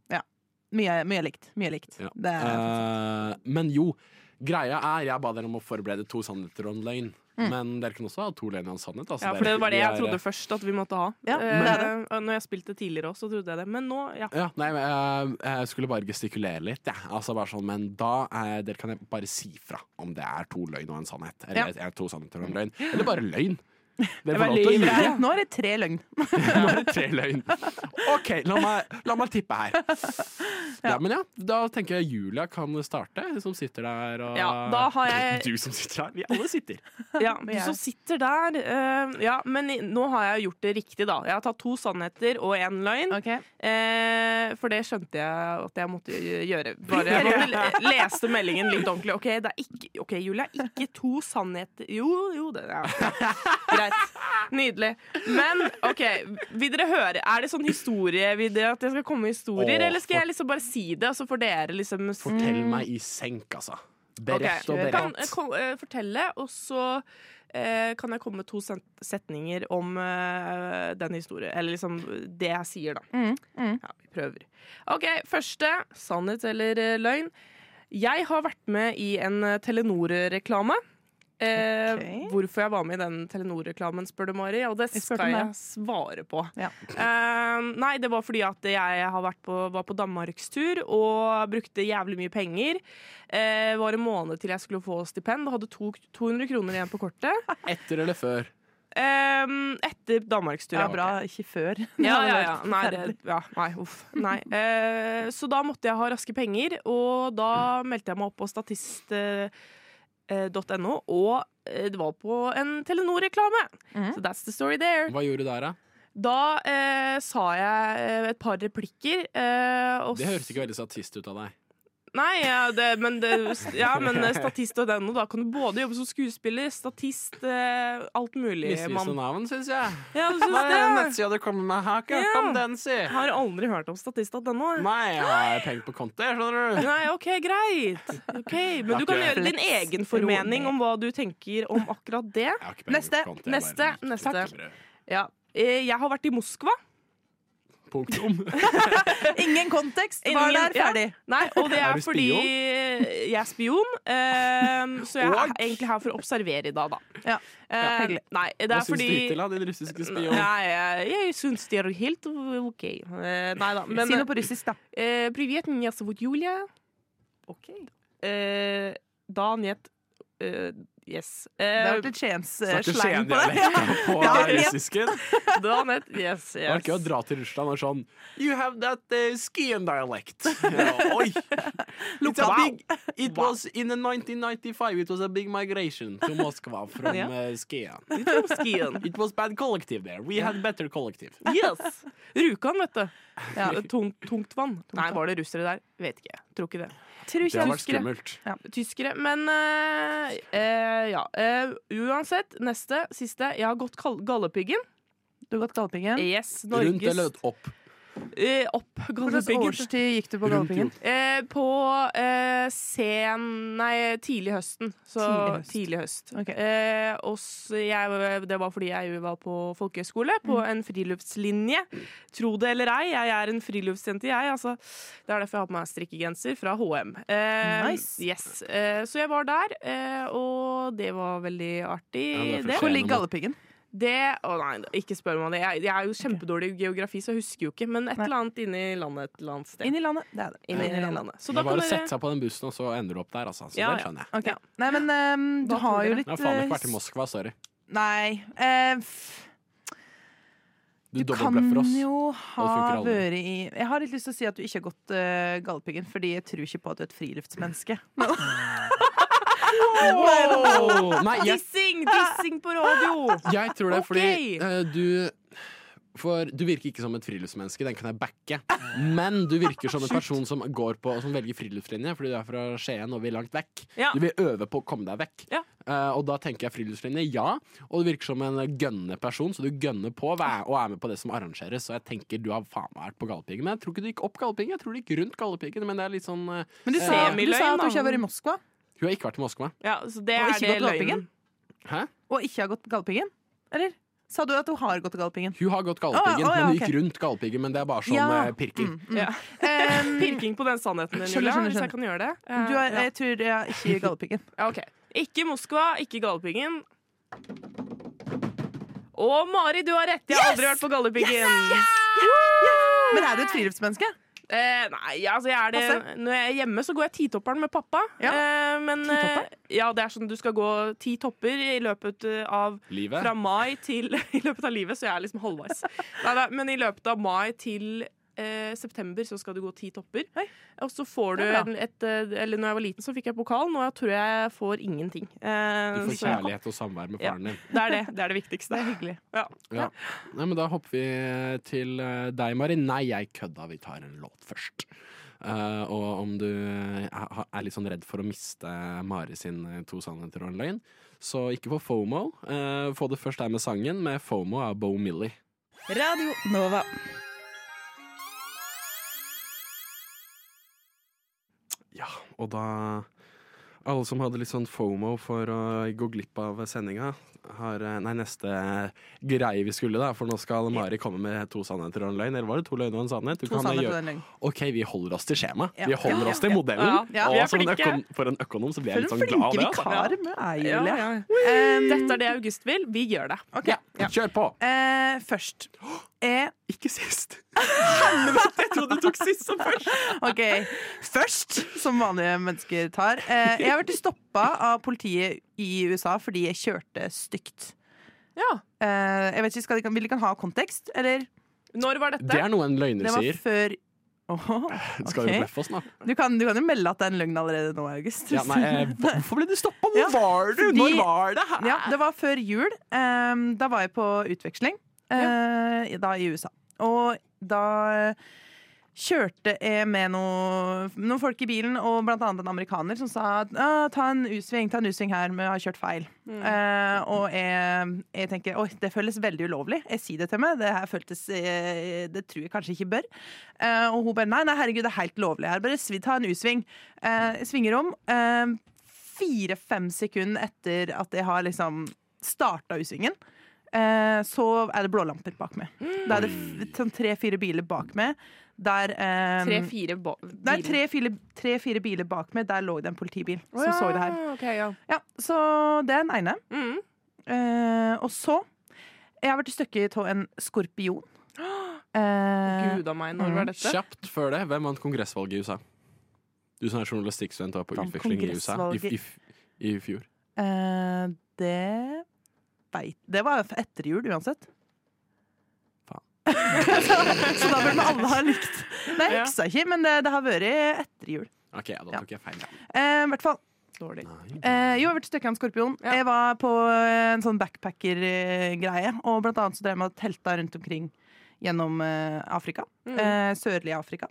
Mye, mye likt. Mye likt.
Ja.
Det er,
Eh, men jo, greia er Jeg ba dere om å forberede to sannheter og en løgn. Men dere kan også ha to løgner og en sannhet. Altså,
Mm. Ja,
dere-
for det var det
vi
jeg
er-
trodde først at vi måtte ha.
Ja,
Eh,
det er
og når jeg spilte tidligere òg, så trodde jeg det. Men nå, ja.
Ja, nei, men, eh, jeg skulle bare gestikulere litt, jeg. Altså, bare sånn, men da eh, dere kan bare si fra om det er to løgn og en sannhet. Eller eh, to sannheter og en løgn. Eller bare løgn. Dere får lov til å
det
ljuge.
er, nå er det tre løgn.
Nå er det tre løgn. OK, la meg, la meg tippe her. Ja, men ja, Da tenker jeg Julia kan starte, hun som sitter der og
Ja, da har jeg-
Ah. Du som sitter her. Vi alle sitter.
ja du som sitter der. eh, ja, men i- nå har jeg gjort det riktig, da. Jeg har tatt to sannheter og én løgn. Eh, for det skjønte jeg at jeg måtte gjø- gjøre. Bare jeg måtte le- leste meldingen litt ordentlig. Ok, det er ikke, ok, Julia, ikke to sannheter Jo, jo, det ja. Greit. Nydelig. Men OK, vil dere høre? Er det sånn historie? Vil dere at jeg skal komme med historier,
Åh,
eller skal jeg liksom bare si det, og så får dere liksom
Fortell meg i senk, altså. Berett og
Ok, Kan jeg
berett.
kom, eh, fortelle, og så eh, kan jeg komme med to sen- setninger om eh, den historien. Eller liksom det jeg sier, da.
Mm,
Ja, vi prøver. OK, første. Sannhet eller eh, løgn. Jeg har vært med i en eh, Telenor-reklame. Eh,
Ok.
Hvorfor jeg var med i den Telenor-reklamen, spør du, Mari. Og det
Jeg spurte
skal
om
jeg svare på.
Ja.
Eh, nei, det var fordi at jeg har vært på, var på danmarkstur og brukte jævlig mye penger. Eh, var en måned til jeg skulle få stipend og hadde to, 200 kroner igjen på kortet.
Etter eller før?
Ehm, etter
Ja,
Danmarksturen.
bra. Ikke før.
Ja, ja, ja.
Det hadde vært
Nei, det,
forferdelig.
ja, nei uff. Nei. Eh, så da måtte jeg ha raske penger, og da meldte jeg meg opp på eh, statist.no, og eh, det var på en Telenor-reklame.
Mhm.
Så that's the story there.
Hva gjorde du der, da?
Da eh, sa jeg eh, et par replikker. Eh, og
Det høres ikke veldig statist ut av deg.
Nei, ja, det, men, det, ja, men eh, statist og den, og da kan du både jobbe som skuespiller, statist, eh, alt mulig.
Misvisende
mann.
navn, syns jeg.
Ja, du syns
Hva er
det?
den nettsida du kommer med? Har ikke hørt
Ja.
om den, si.
Jeg har aldri hørt om statist.no. jeg.
Nei, jeg har penger på konti, skjønner du.
Nei, OK, greit. Ok, Men du kan
Takk.
gjøre din egen formening om hva du tenker om akkurat det.
Jeg har ikke penger
Neste,
på konti, jeg
Neste.
bare-
neste. Ja. Eh, Jeg har vært i Moskva.
Punktum.
Ingen kontekst. Var
Ingen-
der
ja.
ferdig.
Nei, og det
Er
er
du
fordi jeg er spion. eh, så jeg er egentlig her for å observere i dag, da.
Ja.
Eh,
hyggelig.
nei, det er
Hva syns du
fordi
hittil, da, din russiske spion?
Nei, jeg, jeg syns det er helt OK. Eh, Nei da. Men
si noe på russisk, da.
eh, Привет, меня зовут Юлия. OK. Eh, da njet eh, Yes.
Det
Eh,
har vært litt
Snakker
Skiens-sleng på det.
Skien-dialekten på
Ja, ja.
russisken?
da njet Yes.
Det var gøy å
yes.
dra til Russland og sånn You have that uh, Skien dialect. Ja, Oi! It's a
Wow.
big, it was in the 1995 it was a big migration to Moskva from
Ja.
uh, Skien.
Skien.
It was bad collective there. We had better collective.
Yes. Rjukan, vet du. Eh,
Ja.
Tung, tungtvann. Nei, var det russere der? Vet ikke. Tror ikke det.
Tror
Det
ikke
har
jeg
vært
husker det.
skummelt.
Tyskere. Men eh, eh, ja. Eh, uansett, neste, siste. Jeg har gått kal- Galdhøpiggen.
Du har gått Galdhøpiggen.
Yes,
Rundt
Norges
eller opp?
eh, Opp
Hva slags
Galdhøpiggen.
årstid gikk du på
Rundt
Galdhøpiggen?
Eh, på eh, sen Nei, tidlig høsten. Så
Tidlig høst.
tidlig høst.
Ok.
Eh, og s- jeg, det var fordi jeg jo var på folkehøyskole, på
Mm.
en friluftslinje. Tro det eller ei, jeg er en friluftsjente, jeg. Altså, det er derfor jeg har på meg strikkegenser fra HM. Eh,
Nice.
Yes. Eh, så jeg var der, eh, og det var veldig artig.
Ja, det er
det.
for sent.
Hvor ligger Galdhøpiggen?
Det, å nei, ikke spør meg om det. Jeg, jeg er jo kjempedårlig i geografi, så jeg husker jo ikke. Men et
Nei.
eller annet inni landet et eller annet sted.
Inn i landet. Det er det.
Inni
Inn i landet.
landet. Så
Det
da
er bare
kan
å
dere
sette seg på den bussen, og så ender du opp der. Altså. Så
Ja,
det
ja.
skjønner jeg.
Ok. Nei, men ehm, du
Hva tror
har jo
dere?
litt
Jeg har faen ikke vært i
eh,
Moskva, sorry.
Nei. eh, f-
Du,
du kan
dobbeltbløffer oss.
jo ha
funker aldri.
vært i Jeg har litt lyst til å si at du ikke har gått uh, Galdhøpiggen, fordi jeg tror ikke på at du er et friluftsmenneske.
Åh! Nei, jeg,
Dissing! Dissing på radio!
jeg tror det er fordi
Ok.
eh, du for du virker ikke som et friluftsmenneske, den kan jeg backe. Men du virker som en person som går på Som velger friluftslinje, fordi du er fra Skien og vil langt vekk.
Ja.
Du vil øve på å komme deg vekk.
Ja.
Eh, og da tenker jeg friluftslinje, ja. Og du virker som en gønne person, så du gønner på og er og er med på det som arrangeres. Så jeg tenker du har faen meg vært på Galdhøpiggen. Men jeg tror ikke du gikk opp Galdhøpiggen, jeg tror du gikk rundt Galdhøpiggen. Men det er litt sånn eh,
Men du sa, du
Semiløgn,
sa at du ikke
da.
har vært i Moskva,
Hun har ikke vært i Moskva.
Ja, så det
Og
er
ikke
det
gått Galdhøpiggen?
løgnen.
Hæ?
og ikke har gått Galdhøpiggen? Eller? Sa du at du har gått Galdhøpiggen?
Hun har gått Galdhøpiggen,
Å, å, ja,
men hun gikk
ok.
rundt Galdhøpiggen. Men det er bare sånn
Ja.
eh, pirking.
Ja. Pirking på den sannheten din,
Skjønner,
Julia.
skjønner,
Hvis
skjønner.
jeg kan gjøre det. Eh,
Du har,
ja.
jeg tror jeg har ikke Galdhøpiggen.
Ja, ok. Ikke Moskva, ikke Galdhøpiggen. Å, Mari, du har rett! Jeg har aldri vært på Galdhøpiggen.
Men er du et friluftsmenneske?
Eh, nei, altså jeg er det Når jeg er hjemme, så går jeg titopperen med pappa.
Ja.
Eh, men eh,
Titopperen?
ja, det er sånn du skal gå ti topper i løpet eh, av
Livet.
Mm.
Fra mai til I løpet av livet, så jeg er liksom halvveis. Nei, nei, men i løpet av mai til eh, september så skal du gå ti topper.
Oi.
Og så får du
Det er bra.
en- et eh, Eller når jeg var liten, så fikk jeg pokal. Nå jeg tror jeg jeg får ingenting. Eh,
Du får
så-
kjærlighet og samvær med
Ja.
faren din.
Det er det. Det er det viktigste.
Hyggelig.
Ja.
Ja. Nei, men da hopper vi til eh, deg, Mari. Nei, jeg kødda. Vi tar en låt først. Eh, og om du eh, ha- er litt sånn redd for å miste Mari sin eh, To sannheter og en løgn, så ikke få FOMO. Eh, få det først her med sangen, med FOMO av Bo Millie.
Radio Nova.
Ja, og da Alle som hadde litt sånn FOMO for å gå glipp av sendinga, har eh, Nei, neste greie vi skulle, da, for nå skal Mari komme med to sannheter og en løgn. Eller var det to løgner og en sannhet? Du
To
kan
sannheter
gjøre-
og en løgn.
OK, vi holder oss til skjemaet.
Ja.
Vi holder
Ja.
oss til modellen.
Ja, ja, vi er
Og som en
flinke.
økon, for en økonom så blir
For
jeg litt
en
sånn glad av
flinke
det. altså.
vikar vi er,
Ja,
Julie.
ja.
Um,
Dette er det August vil. Vi gjør det.
ok.
Ja, Kjør på!
Eh, først Eh, er
Ikke sist.
Jeg trodde du tok sist som først.
OK. Først, som vanlige mennesker tar. Eh, jeg har blitt stoppa av politiet i USA fordi jeg kjørte stygt.
Ja.
Eh, jeg vet ikke, skal de, kan- Vil de kan ha kontekst, eller?
Når var dette?
Det er noe en løgner
Det var
sier.
før Åh,
Skal
ok.
jo bløffe oss nå.
du, kan, du kan jo melde at det er en løgn allerede nå, August.
Ja, nei, eh, hvorfor ble du stoppa? Hvor
Ja,
var du?
fordi-
Når var det her?
Ja, det var før jul. Ehm, da var jeg på utveksling, eh, da i USA. Og da kjørte jeg med noe, noen folk i bilen, og blant annet en amerikaner som sa at «Ah, ta en U-sving, ta en U-sving her, men jeg har kjørt feil.
Mm.
Eh, og jeg, jeg tenker oi, det føles veldig ulovlig. Jeg sier det til meg. Det her føltes eh, Det tror jeg kanskje ikke bør. Eh, og hun bare nei, nei, herregud, det er helt lovlig her. Bare svi- ta en U-sving. Eh, jeg svinger om. Eh, Fire-fem sekunder etter at jeg har liksom starta U-svingen, eh, så er det blålamper bak meg. Da er det f- sånn tre-fire biler bak meg. Der eh,
Tre-fire ba-
Nei,
biler.
tre-fire tre, biler bak meg, der lå det en politibil som
Å, ja,
så det her.
ok, ja.
Ja, Så det er den ene.
Mm.
Eh, og så Jeg har vært stykket av en skorpion. Eh,
Gud a meg, når var dette?
Kjapt før det, hvem vant kongressvalget i USA? Du som er journalistikkstudent og var på
Vant
utveksling i USA i,
kongressvalget-
i, i fjor.
eh, det veit Det var jo etter jul uansett.
Faen.
så da burde vi alle ha likt. Nei, jeg
Ja.
heksa ikke, men det, det har vært etter jul.
OK, da tok jeg feil.
Eh, I hvert fall.
Dårlig.
Eh, jo, jeg har vært stykket av en skorpion.
Ja.
Jeg var på en sånn backpacker-greie. Og blant annet så drev jeg med telta rundt omkring gjennom eh, Afrika.
Mm.
Eh, sørlig Afrika.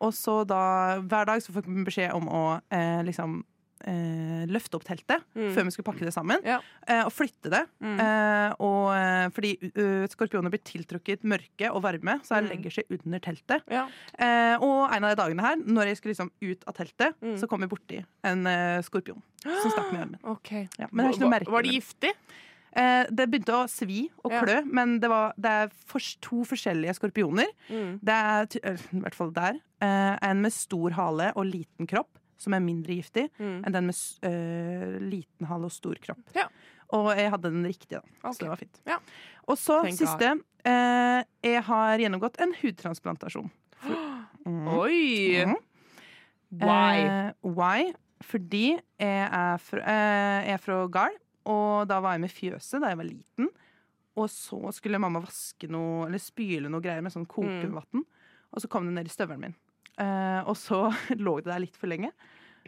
Og så da, hver dag så fikk vi beskjed om å eh, liksom eh, løfte opp teltet
Mm.
før vi skulle pakke det sammen.
Ja.
Eh, og flytte det.
Mm.
Eh, og, eh, fordi eh, skorpioner blir tiltrukket mørke og varme, så de
Mm.
legger seg under teltet.
Ja.
Eh, og en av de dagene her, når jeg skulle liksom ut av teltet,
Mm.
så kom jeg borti en eh, skorpion som stakk meg i armen.
Ok.
Ja, men det er ikke noe
Var-
merke.
Var
med
de
det.
giftig?
Eh, det begynte å svi og
Ja.
klø, men det, var, det er fors- to forskjellige skorpioner.
Mm.
Det er ty- øh, i hvert fall der. Eh, en med stor hale og liten kropp, som er mindre giftig
Mm.
enn den med s- øh, liten hale og stor kropp.
Ja.
Og jeg hadde den riktige, da.
Ok.
Så det var fint.
Ja.
Og så,
Tenk
siste. Eh, jeg har gjennomgått en hudtransplantasjon.
Oi!
Mhm.
Why?
Eh, why? Fordi jeg er fra, eh, jeg er fra Gard, og da var jeg med fjøset da jeg var liten. Og så skulle mamma vaske noe, eller spyle noe greier med sånn kokevann. Og så kom det ned i støvelen min. Eh, og så lå det der litt for lenge.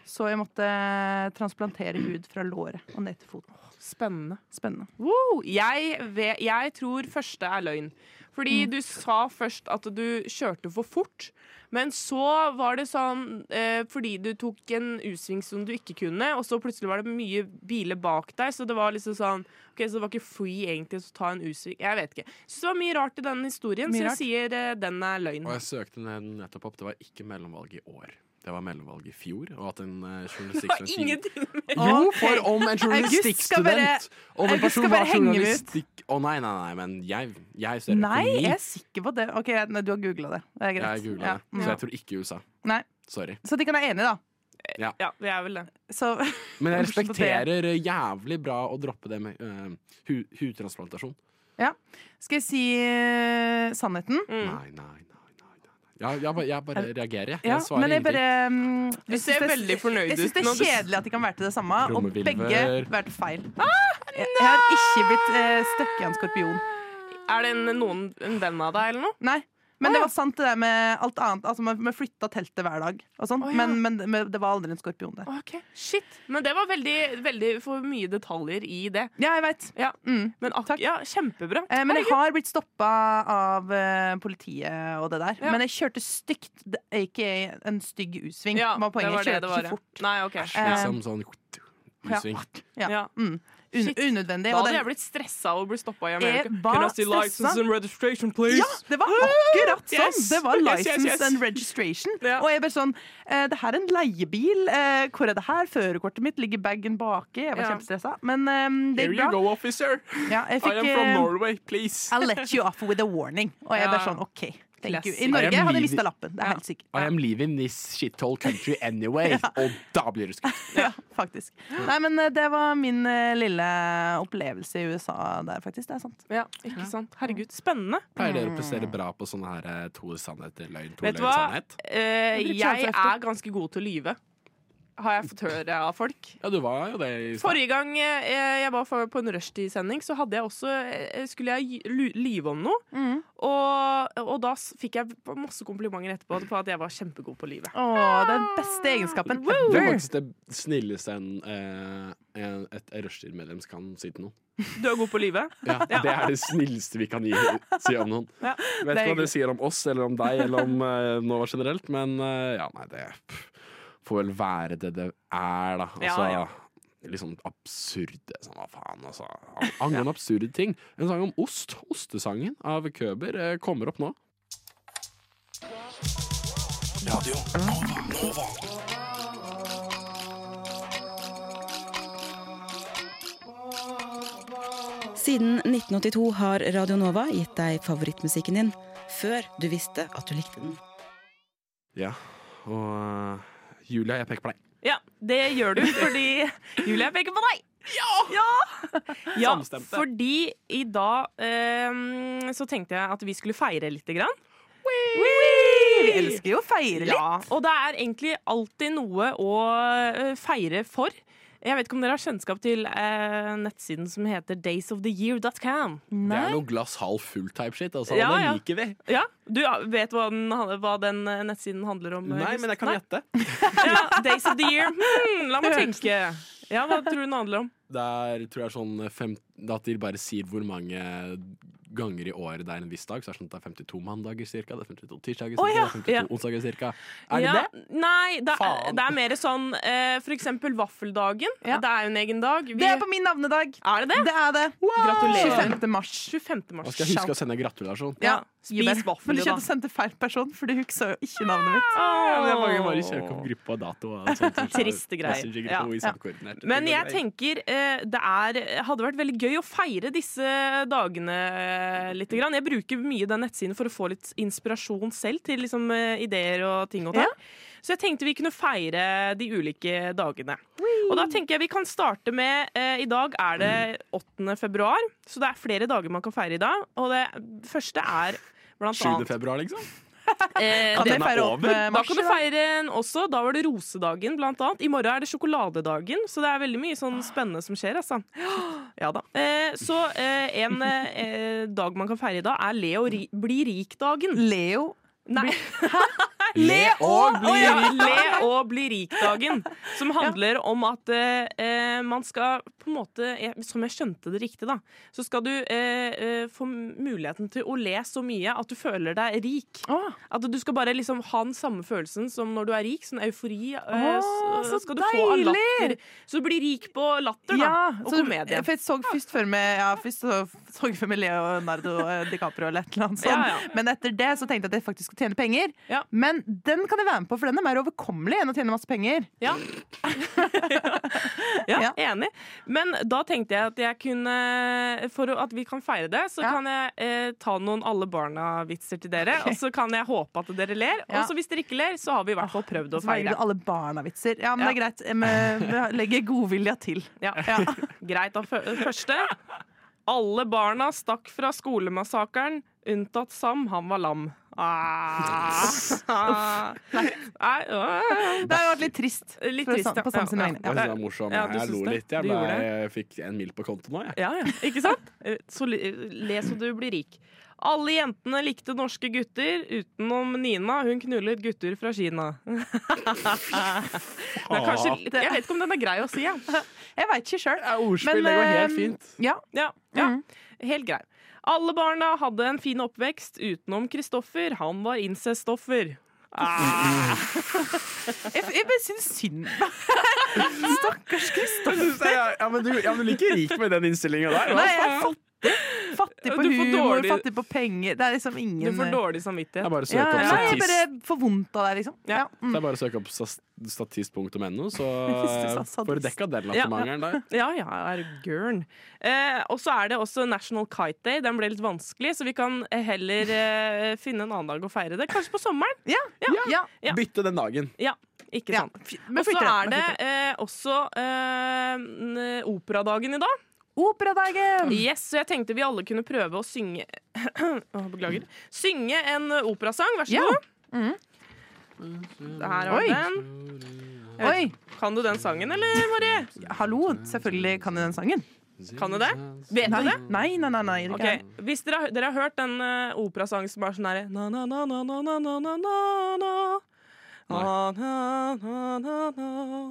Så jeg måtte eh, transplantere hud fra låret og ned til foten.
Spennende.
Eh, Spennende.
Wow. Jeg, ve- jeg tror første er løgn. Fordi
Mm.
du sa først at du kjørte for fort. Men så var det sånn eh, fordi du tok en U-sving som du ikke kunne, og så plutselig var det mye biler bak deg, så det var liksom sånn Ok, så det var ikke free egentlig å ta en U-sving. Jeg vet ikke. Så det var mye rart i denne historien,
Mye
så
rart.
jeg sier eh, den er løgn.
Og jeg søkte den nettopp opp. Det var ikke mellomvalg i år. Det var mellomvalg i fjor. Og at en eh, journalistikkstudent
Ingenting mer.
Jo,
Ok.
for om en
August skal bare-
journalistikkstudent Om en
August skal
person
bare
var
henge meg ut.
journalistikk Å nei, nei, nei, men jeg, jeg studerer
Nei,
økonomi.
jeg er sikker på det. Ok, nei, Du har googla det. Det er greit.
Jeg googla
Ja.
det, så
Ja.
jeg tror ikke USA.
Nei.
Sorry.
Så de kan være enige, da.
Ja, det er vel det.
Så
Men jeg
Hvorfor
respekterer eh, jævlig bra å droppe det med eh, hu hudtransplantasjon.
skal jeg si eh, sannheten.
Nei, nei, nei. nei, nei, nei. Ja, jeg, bare, jeg bare reagerer, jeg.
Ja,
Jeg svarer
men jeg
ingenting.
bare mm,
Du
jeg
ser
synes det-
veldig fornøyd
Jeg syns
ut
det
når
er
du-
kjedelig at de kan være til det samme, og
Trommevirvel.
begge vært feil.
Ah,
Jeg jeg har ikke blitt eh, støkk i en skorpion.
Er det en, noen, en venn av deg eller noe?
Nei. Men det var sant det der med alt annet. Altså, man man flytta teltet hver dag, og sånn.
Å, ja.
men, men, men det var aldri en skorpion der.
Ok, shit Men det var veldig, veldig for mye detaljer i det.
Ja, jeg veit.
Ja.
Mm.
Men ak
Takk.
ja, kjempebra.
Eh, men jeg har blitt stoppa av eh, politiet og det der.
Ja.
Men jeg kjørte stygt. Det er ikke en stygg U-sving.
Ja,
var poenget.
det var det
Jeg
det
kjørte
var,
ikke
ja.
fort. Eh,
Nei, ok
Liksom sånn U-sving.
Ja.
ja.
Mm. Un
Shit.
unødvendig.
Da
og
hadde
den-
jeg blitt stressa av å bli stoppa i
Jeg
Amerika.
var
Can I see license
stressa.
and registration, please?
Ja, det var akkurat sånn!
Yes,
Det var
yes, yes,
license
yes.
and registration.
Ja.
Og jeg bare sånn eh, Det her er en leiebil. Eh, hvor er det her? Førerkortet mitt ligger bagen baki. Jeg var
Ja.
kjempestressa. Men eh, det
Here you
gikk bra.
go, officer.
Ja, jeg
I
fikk
am
eh,
from Norway, please.
I'll let you off with a warning. Og jeg bare
Ja.
sånn OK. Thank you.
Classic.
I Norge
I am
hadde jeg
leaving-
mista lappen. Det er helt sikkert.
I am leaving this shithole country anyway. Og da blir du skutt.
Ja, faktisk. Nei, men eh, det var min eh, lille opplevelse i USA der, faktisk. Det er sant.
Ja, ikke sant? Herregud, spennende.
Pleier dere å prestere bra på sånne her eh, to sannheter, løgn, to
Mm. Vet du
løgn,
hva?
sannhet?
Eh,
Det blir
jeg
kjempeefte.
er ganske god til å lyve. har jeg fått høre av folk.
Ja, du var jo det i stad.
Forrige gang eh, jeg var for- på en rushtidssending, så hadde jeg også, eh, skulle jeg gi- lu- lyve om noe.
Mm.
Og, og da s- fikk jeg masse komplimenter etterpå på at jeg var kjempegod på livet.
Å, den beste egenskapen
Det er
ever!
faktisk det snilleste en, eh, en, et rushtid-medlem kan si til noen.
Du er god på livet.
Ja, det er det snilleste vi kan gi, si om noen.
Ja,
Vet
det
ikke
er
hva det sier om oss eller om deg eller om eh, Nova generelt, men eh, ja, nei, det pff, får vel være det det er, da.
Ja,
Altså,
ja.
Litt sånn absurde sånn, Hva faen, altså. Angående absurde ting. En sang om ost. Ostesangen av Køber eh, kommer opp nå.
Siden 1982 har Radio Nova gitt deg favorittmusikken din før du visste at du likte den.
Ja, og eh, Julia, jeg peker på deg.
Ja, det gjør du fordi Julie peker på deg! Ja! ja!
Samstemte.
Fordi i dag eh, så tenkte jeg at vi skulle feire lite grann.
Vi elsker jo å feire litt.
Ja, og det er egentlig alltid noe å eh, feire for. Jeg vet ikke om dere har kjennskap til eh, nettsiden som heter daysoftheyear.com.
Det
Nei.
er noe glass halv full-type shit. Altså,
Ja,
det
ja.
liker vi.
Ja, Du ja, vet hva den, hva den eh, nettsiden handler om? eh,
Nei,
Kristian?
men jeg kan gjette.
ja, Days of the year. Hmm, la meg tenke. Ja, Hva tror du den handler om?
Der tror jeg sånn fem, At de bare sier hvor mange ganger i året det er en viss dag. Så er det sånn at det er 52 mandager cirka, det er 52 tirsdager cirka,
Å, ja.
det er 52
Ja.
onsdager cirka. Er det
ja,
det?
Nei, det, er-
Faen.
det er mer sånn eh, for eksempel vaffeldagen.
Ja.
Det er jo en egen dag. Vi-
Det er på min navnedag!
er det det?
Det er det.
Gratulerer.
25. mars.
25.
Da
mars.
skal jeg huske å sende gratulasjon.
Ja,
Gi meg-
Spis
Men
vaffel,
du
da.
kjente sendte feil person, for du huksa jo ikke navnet mitt.
Ja, men jeg bare, bare søker opp gruppe og dato. Og sånt, sånt,
Triste greier. Ja. Men jeg tenker eh, det er, hadde vært veldig gøy å feire disse dagene eh, litt. Grann. Jeg bruker mye den nettsiden for å få litt inspirasjon selv til liksom, eh, ideer og ting. Og tang. Så jeg tenkte vi kunne feire de ulike dagene. Og da tenker jeg vi kan starte med eh, I dag er det 8. februar, så det er flere dager man kan feire i dag. Og det første er blant
7.
annet
februar, liksom?
eh,
Kan
det-
jeg feire opp med
da
mars?
kan du feire en også. Da var det rosedagen, blant annet. I morgen er det sjokoladedagen, så det er veldig mye sånn spennende som skjer, altså. Ja da. Eh, så eh, en eh, dag man kan feire i dag, er le og ri bli rik-dagen.
Leo.
Nei,
Le og
Å ja, le og bli rik-dagen. Som handler om at eh, eh, man skal på en måte eh, Som jeg skjønte det riktig, da, så skal du eh, eh, få muligheten til å le så mye at du føler deg rik. At du skal bare liksom ha den samme følelsen som når du er rik. Sånn eufori. eh,
Å,
s-
så
skal du få av
deilig!
latter. Så du blir rik på latter, da. og
så-
komedie.
For jeg så først før med, ja, først så, så før med Leonardo eh, DiCaprio eller et eller annet sånt.
Ja, ja.
Men etter det så tenkte jeg at jeg faktisk skulle tjene penger.
Ja.
Men den kan jeg være med på, for den er mer overkommelig enn å tjene masse penger.
Ja. ja,
Ja.
enig. Men da tenkte jeg at jeg kunne For at vi kan feire det, så
Ja.
kan jeg eh, ta noen alle barna-vitser til dere. Og så kan jeg håpe at dere ler.
Ja.
Og så hvis dere ikke ler, så har vi i hvert fall prøvd å
Så velger
feire.
du alle barna-vitser. Ja, men det
Ja.
er greit. Jeg må- legger godvilja til.
Ja. Greit, da. Fø- Første. Alle barna stakk fra skolemassakren, unntatt Sam, han var lam. Ah. Nei, ah.
Det har jo vært litt trist.
Litt
For å
trist,
sam- på Sam sine vegne.
Jeg synes det var morsom.
Ja, du
jeg
synes
lo
det.
litt, jeg,
Du
men
gjorde det.
jeg fikk en mil på konto nå. Jeg.
Ja, ja. Ikke sant? Eh, Så li- le så du blir rik. Alle jentene likte norske gutter, utenom Nina. Hun knullet gutter fra Kina. Det er kanskje, litt- jeg vet ikke om den er grei å si. Ja.
Jeg veit ikke sjøl.
Ja, ordspill, det går helt fint.
Ja, Mm.
Ja, ja. Helt grei. Alle barna hadde en fin oppvekst, utenom Kristoffer. Han var incestoffer.
jeg, jeg bare syns synd Stakkars Kristoffer.
Ja, men du, ja, men du liker rik med den innstillinga der.
Nei, jeg er fattig. Fattig på
Du får
humor,
dårlig-
fattig på penger. Det er liksom ingen
Du får dårlig
Jeg
samvittighet.
bare
ja,
søker opp
ja. Nei, jeg
statist.
bare får vondt av deg, liksom. Ja.
Ja.
Det
Mm.
er bare å søke opp stas- statist.no, så eh,
Hvis du sa
får du
sadist.
dekka den lattermangelen der.
Ja, ja, er gørn. Eh, og så er det også National Kite Day. Den ble litt vanskelig, så vi kan heller eh, finne en annen dag å feire det. Kanskje på sommeren.
Ja. Ja. Ja.
Ja.
Bytte den dagen.
Ja, ikke sant.
Fy-
Og
Men
så
flytter
er
jeg.
det eh, også eh, n- operadagen i dag.
Operadagen!
Yes, Så jeg tenkte vi alle kunne prøve å synge Å, Beklager. Synge en eh, operasang, vær så
Ja.
god. Her har vi den.
Oi!
Kan du den sangen, eller, Marie?
Hallo, selvfølgelig kan jeg den sangen.
Kan du det? Vet
Nei,
du det?
nei, nei. nei, nei det
Ok,
kan jeg.
Hvis dere, har- dere har hørt den eh, operasangen som er sånn herre na, na, na, na, na, na, na, na, na, na. Na, na, na, na, na.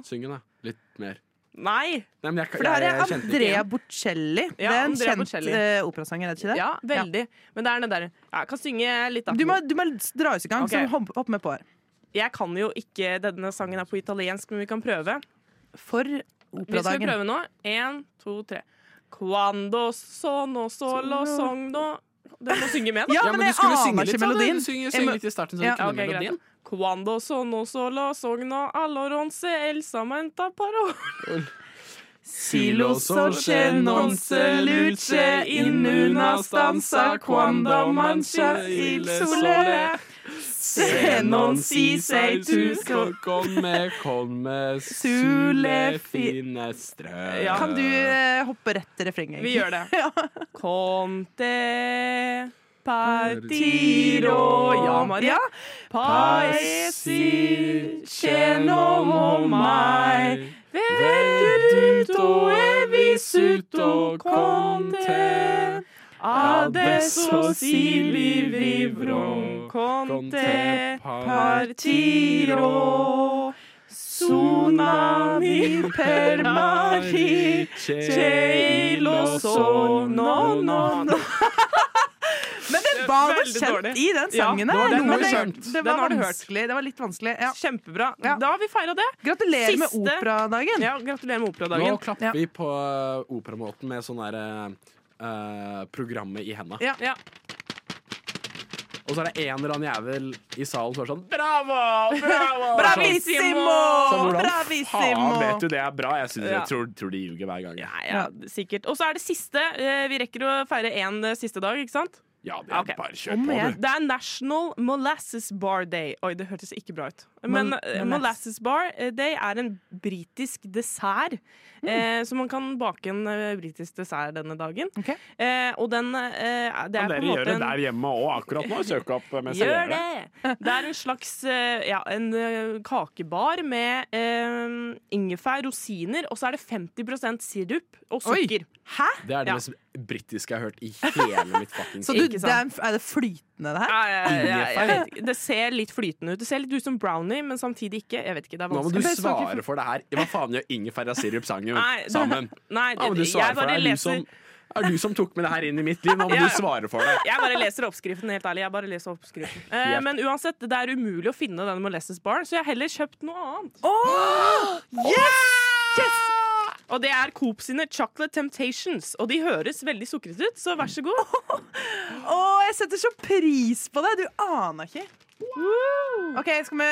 Syng den, da. Litt mer.
Nei!
Nei, men jeg,
For det her er
jeg, jeg kjente ikke
Andrea
igjen.
Bocelli. Det
Ja,
er en
Andrea
kjent
Bocelli.
eh, operasanger, er det ikke det?
Ja, veldig. Men det er den der Jeg kan synge litt, da.
Du må, du må dra oss i gang,
Ok.
så hopp, hopp med på her.
Jeg kan jo ikke Denne sangen er på italiensk, men vi kan prøve.
For
Vi skal
operadagen.
prøve nå. Én, to, tre. Quando sono solo sogno Du må synge med, da.
Ja,
Ja, men
men
du skulle
jeg
synge
aner
litt,
ikke
sa du.
melodien.
Du synger,
Jeg
synger
må-
litt i starten, så du
Ja.
kunne
Ok, greit.
melodien.
Quando sono solo sogno all'oronce el samanta paro
Silo sorce nonce luce in una stanza quando mancia il sole. Se non si sei tu so-
komme, komme,
Sule fi-
finestrø
Ja.
Kan du eh, hoppe rett til refrenget?
Vi gjør det.
Ja.
Conte partiro Ja, Maria.
Ja.
Paesi gjennom meg. Veduto e vissuto con te. Adesso si li vivrò con te. Partiro. Tsunami per mari. Che lo so, no, no, no.
Men det var vel
Veldig
kjent
dårlig.
i den
Ja,
sangen
det var
her.
den
Men
har du
det,
skjønt.
det
Den
var
har du hørt.
vanskelig. Det var litt vanskelig. Ja.
Kjempebra.
Ja.
Da har vi feira det.
Gratulerer med
Siste-
operadagen.
Ja, Gratulerer
Nå
med operadagen.
klapper vi på eh, operamåten med sånn derre eh, programmet i henda.
Ja.
Ja.
Og så er det en eller annen jævel i salen som er sånn Bravo! Bravo!
Bravissimo!
Så hvordan
Bravissimo!
faen vet du det er bra? Jeg, synes,
Ja.
jeg tror, tror de ljuger hver gang.
Ja, ja, sikkert. Og så er det siste. Eh, Vi rekker å feire én eh, siste dag, ikke sant?
Ja, det
Ja,
er
ok.
bare kjør
Om
på, du.
igjen.
Det er National Molasses Bar Day. Oi, det hørtes ikke bra ut. Men
Mol-
eh,
molass-
Molasses Bar eh, Day er en britisk dessert. Eh, så man kan bake en eh, britisk dessert denne dagen.
Ok.
Eh, og den eh, Det
Kan
er på en
dere
måte
gjøre det
en-
der hjemme òg akkurat nå? Søke opp eh, mens dere
Gjør
gjør det.
det! Det er en slags eh, ja, en eh, kakebar med eh, ingefær, rosiner, og så er det 50 sirup og
Oi.
sukker.
Hæ?
Det er det
Ja.
mest britiske jeg har hørt i hele mitt fuckings
Så du,
Ikke
det
sant.
er, er det flytende, det her?
Ja, ja, ja, ja, jeg vet ikke. Det ser litt flytende ut. Det ser litt ut som brownie, men samtidig ikke. Jeg vet ikke, det er
Nå må du
vanskelig.
svare for det her. Hva faen gjør ingefær og sirup sang jo
Nei, det-
sammen?
Nei,
Ja, men du
jeg
svarer for
bare
det. Er du,
leser
som, er du som tok med det her inn i mitt liv? Nå må
Ja.
du svare for det.
jeg bare leser oppskriften, helt ærlig. Jeg bare leser oppskriften. Eh,
Helt.
men uansett, det er umulig å finne denne Molasses Bar, så jeg har heller kjøpt noe annet. Og det er Coop sine Chocolate Temptations, og de høres veldig sukrete ut, så vær så god.
Å, jeg setter så pris på det! Du aner ikke. Ok, skal vi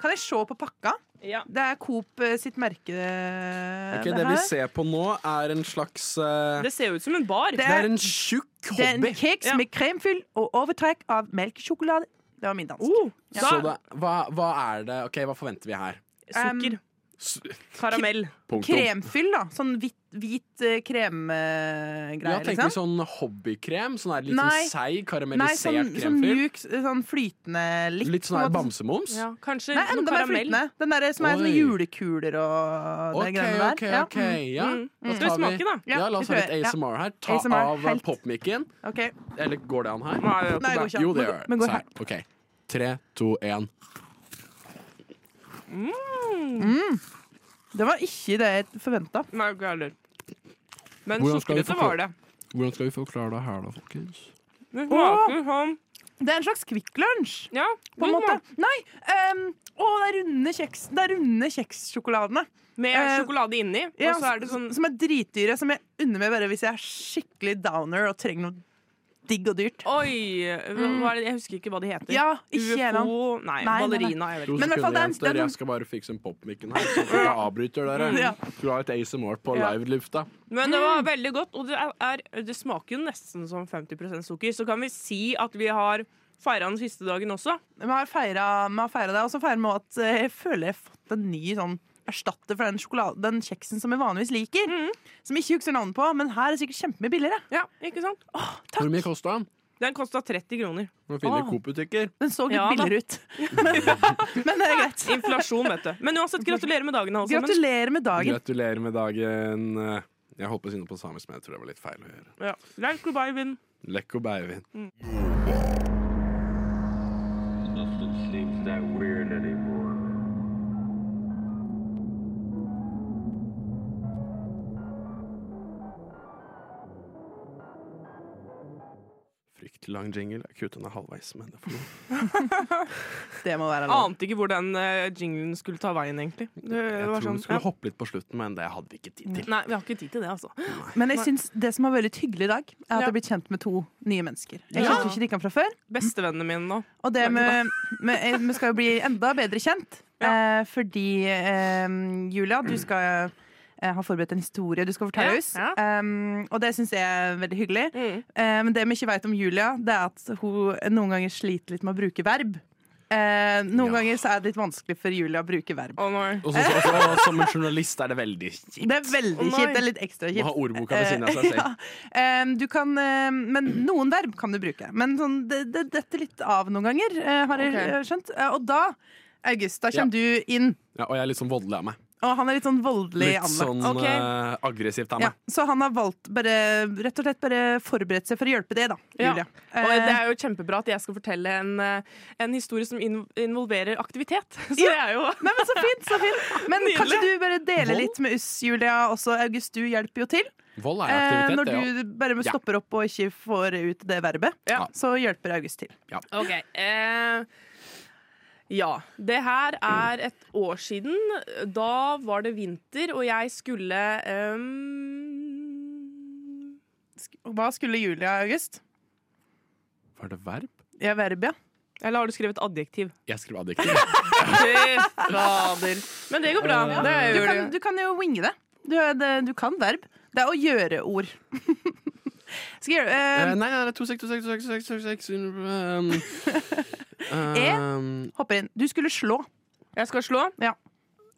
Kan jeg se på pakka?
Ja.
Det er Coop eh, sitt merke, eh,
Ok,
det
det vi
her.
ser på nå, er en slags eh,
Det ser jo ut som en bar.
Det er en tjukk
Det er en
hobby.
keks
Ja.
med kremfyll og overtrekk av melkesjokolade. Det var min dans.
oh,
Så
da,
det, hva, hva er det Ok, hva forventer vi her?
sukker.
S-
Karamell.
Punktum.
Kremfyll, da. Sånn hvit, hvit eh, kremgreie,
Ja, tenker vi
liksom.
sånn hobbykrem? Sånn er litt
Nei.
sånn seig,
Nei,
karamellisert
sånn, sånn
kremfyr?
mjuk, sånn flytende litt.
Litt sånn
på en
her
måte.
bamsemums?
Ja, kanskje
Nei,
noe
enda mer
karamell.
flytende. Den der som er sånne
Oi.
julekuler og
OK,
det greiene der.
OK,
Ja,
OK. Ja.
Mm.
Da
Skal
tar
vi
vi-
smake, da?
Ja, la
Ja, vi
oss ha litt
prøver. Ja.
ASMR her. Ta
ASMR,
av eh,
helt.
popmic-en.
mm, ok.
Eller går det an her?
Nei, det er jo
Nei, det går ikke an.
Jo, det
Men
gjør
gå- men gå
det.
her.
Så her. OK. Tre, to, én.
Det var ikke det jeg forventa.
Nei, ikke jeg heller. Men
Hvordan skal vi
sukrete
forklare-
var det.
Hvordan skal vi forklare det her, da, folkens?
Det smaker sånn
Det er en slags Kvikk Lunsj,
Ja,
på en måte. Nei! ehm, å, det er runde kjeks Det er runde kjekssjokoladene.
Med
Eh,
sjokolade inni,
Ja,
og så er det sånn
Som er dritdyre, som jeg unner meg bare hvis jeg er skikkelig downer og trenger noe digg og dyrt.
Oi! hva- Hva er det? Jeg husker Mm. ikke hva de heter.
Ja, ikke gjennom.
UFO
Nei, nei,
Nei,
nei.
ballerina. Jeg vet
To
ikke.
Men i hvert fall,
sekunder igjen,
det er- det er
Støre.
noen-
Jeg skal bare fikse en popmic-en her. Så dere avbryter dere.
Ja.
Skulle ha et ASMR på
Ja.
livelufta.
Men det var veldig godt, og det, er, det smaker jo nesten som 50 sukker. Så kan vi si at vi har feira den siste dagen også.
Vi har feira vi har feira det, og så feirer vi også at eh, jeg føler jeg har fått en ny sånn erstatter for den, sjokolade- den kjeksen som jeg vanligvis liker.
Mm.
Som jeg ikke husker navnet på, men her er det sikkert kjempemye billigere.
Ja, ikke sant?
Hvor mye kosta den?
Den kosta 30 kroner.
Man finner
Ah.
Coop-butikker.
Den så litt
Ja, da.
billigere ut. Men det er greit.
Inflasjon, vet du. Men uansett, gratulerer med dagen. alle sammen.
Gratulerer med dagen.
Gratulerer med dagen. Jeg holdt på å si noe på samisk, men jeg tror det var litt feil å gjøre.
Ja. Like goodbye, Vin.
Lekko Beivin.
Nothing seems that weird anymore.
Fryktelig lang jingle. Jeg kuttet den halvveis, men det får gå.
Det må være lov.
Ante ikke hvor den eh, jinglen skulle ta veien, egentlig. Det,
Jeg
var
tror
sånn,
den skulle
ja.
hoppe litt på slutten, men det hadde vi ikke tid til.
Nei, vi har ikke tid til det, altså.
Men jeg synes det som har vært litt hyggelig i dag, er at jeg
Ja.
har blitt kjent med to nye mennesker. Jeg
Ja.
kjente jo ikke de kan fra før.
Bestevennene mine nå.
Og det med, med, eh, Vi skal jo bli enda bedre kjent, eh, fordi eh, Julia, du skal eh, ha forberedt en historie du skal fortelle
Ja,
oss.
ja.
Um, og det syns jeg er veldig hyggelig.
Mm.
Eh, men det vi ikke vet om Julia, det er at hun noen ganger sliter litt med å bruke verb. Eh, noen
Ja.
ganger så er det litt vanskelig for Julia å bruke verb.
Å, nei.
Og så- så- så- som en journalist er det veldig kjipt
Det er veldig
Å, nei.
kjipt. Det er litt
å
ekstra
ha
kjipt.
ordboka ved siden av seg
Eh,
sånn selv.
ja. Eh, Du kan, eh, men noen verb kan du bruke. Men sånn, det, det detter litt av noen ganger, eh, har jeg
Ok.
eh, skjønt. Eh, Og da, August, da
Ja.
kommer du inn.
Ja, og jeg er litt sånn voldelig av meg.
Og han er litt sånn voldelig
Litt sånn
anlagt.
Ok.
eh, aggressivt av
Ja,
meg.
så han har valgt bare, rett og slett bare forberedt seg for å hjelpe det, da,
Ja.
Julia.
Og
Eh,
det er jo kjempebra at jeg skal fortelle en, eh, en historie som in involverer aktivitet. Så det er jo
Nei, men Så fint! så fint Men
Nydelig.
kanskje du bare deler
Vold?
litt med oss, Julia. Også August, du hjelper jo til.
Vold er
Eh,
aktivitet,
når
det òg.
du bare
Ja.
stopper opp og ikke får ut det verbet,
Ja.
så hjelper August til.
OK. Eh, ja. Det her er et år siden. Da var det vinter, og jeg skulle eh, ehm,
Sk- Hva skulle Julia, August?
Var det verb?
Ja, verb, ja.
Eller har du skrevet adjektiv?
Jeg skrev adjektiv.
Fy fader. Men det går bra. Det
Du
gjør
kan,
det.
du kan jo winge det. Du, er det. du kan verb. Det er å gjøre ord. Skal jeg gjøre
Eh,
eh,
nei, nei, nei, 26, 26, 26, 26, 26 um,
E?
um,
Hoppe inn. Du skulle slå.
Jeg skal slå. Ja,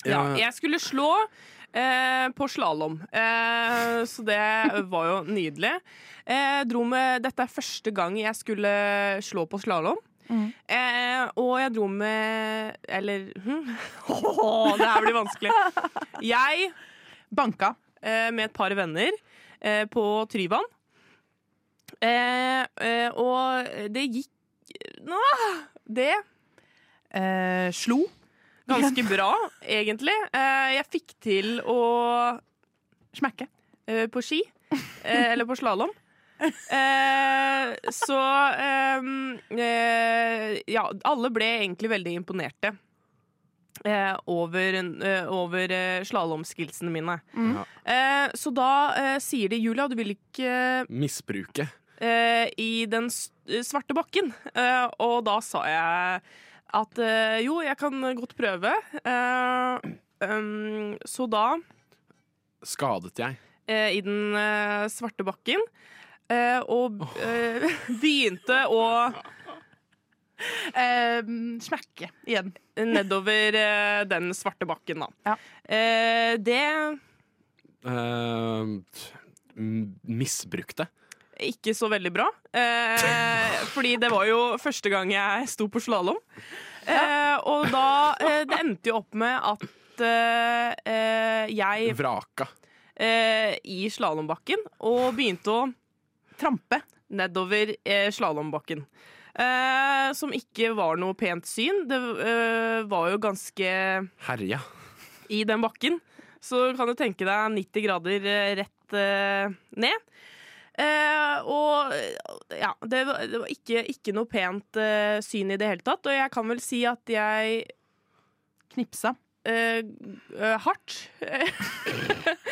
ja,
jeg skulle slå eh, på slalåm, eh, så det var jo nydelig. Eh, dro med, dette er første gang jeg skulle slå på slalåm. Eh, og jeg dro med Eller hm. Det her blir vanskelig. Jeg,
Banka.
eh, med et par venner, eh, på Tryvann. Eh, eh, og det gikk Nå, det
Eh, slo.
ganske bra, egentlig. Eh, jeg fikk til å
Smekke.
eh, på ski. Eh, eller på slalåm. Eh, så ehm, eh, Ja, alle ble egentlig veldig imponerte. Eh, over eh, over eh, slalåmskillsene mine.
Mhm.
Eh, så da eh, sier de 'Julia, du vil ikke
misbruket.
eh, i den s- svarte bakken'. Eh, og da sa jeg at eh, jo, jeg kan godt prøve. Eh, ehm, så da
Skadet jeg.
eh, i den eh, svarte bakken. eh, og eh, begynte å
Eh, smekke igjen.
nedover eh, den svarte bakken, da.
Ja.
Eh, det
Eh, m- misbrukte.
ikke så veldig bra. Eh, fordi det var jo første gang jeg sto på slalåm. Eh, og da eh, Det endte jo opp med at eh, eh, jeg
Vraka.
eh, i slalåmbakken og begynte å
Trampe.
nedover eh, slalåmbakken. Eh, som ikke var noe pent syn. Det eh, var jo ganske
Herja.
I den bakken så kan du tenke deg 90 grader eh, rett eh, ned. Eh, og eh, ja, det var, det var ikke, ikke noe pent eh, syn i det hele tatt. Og jeg kan vel si at jeg
Knipsa.
eh, eh, hardt.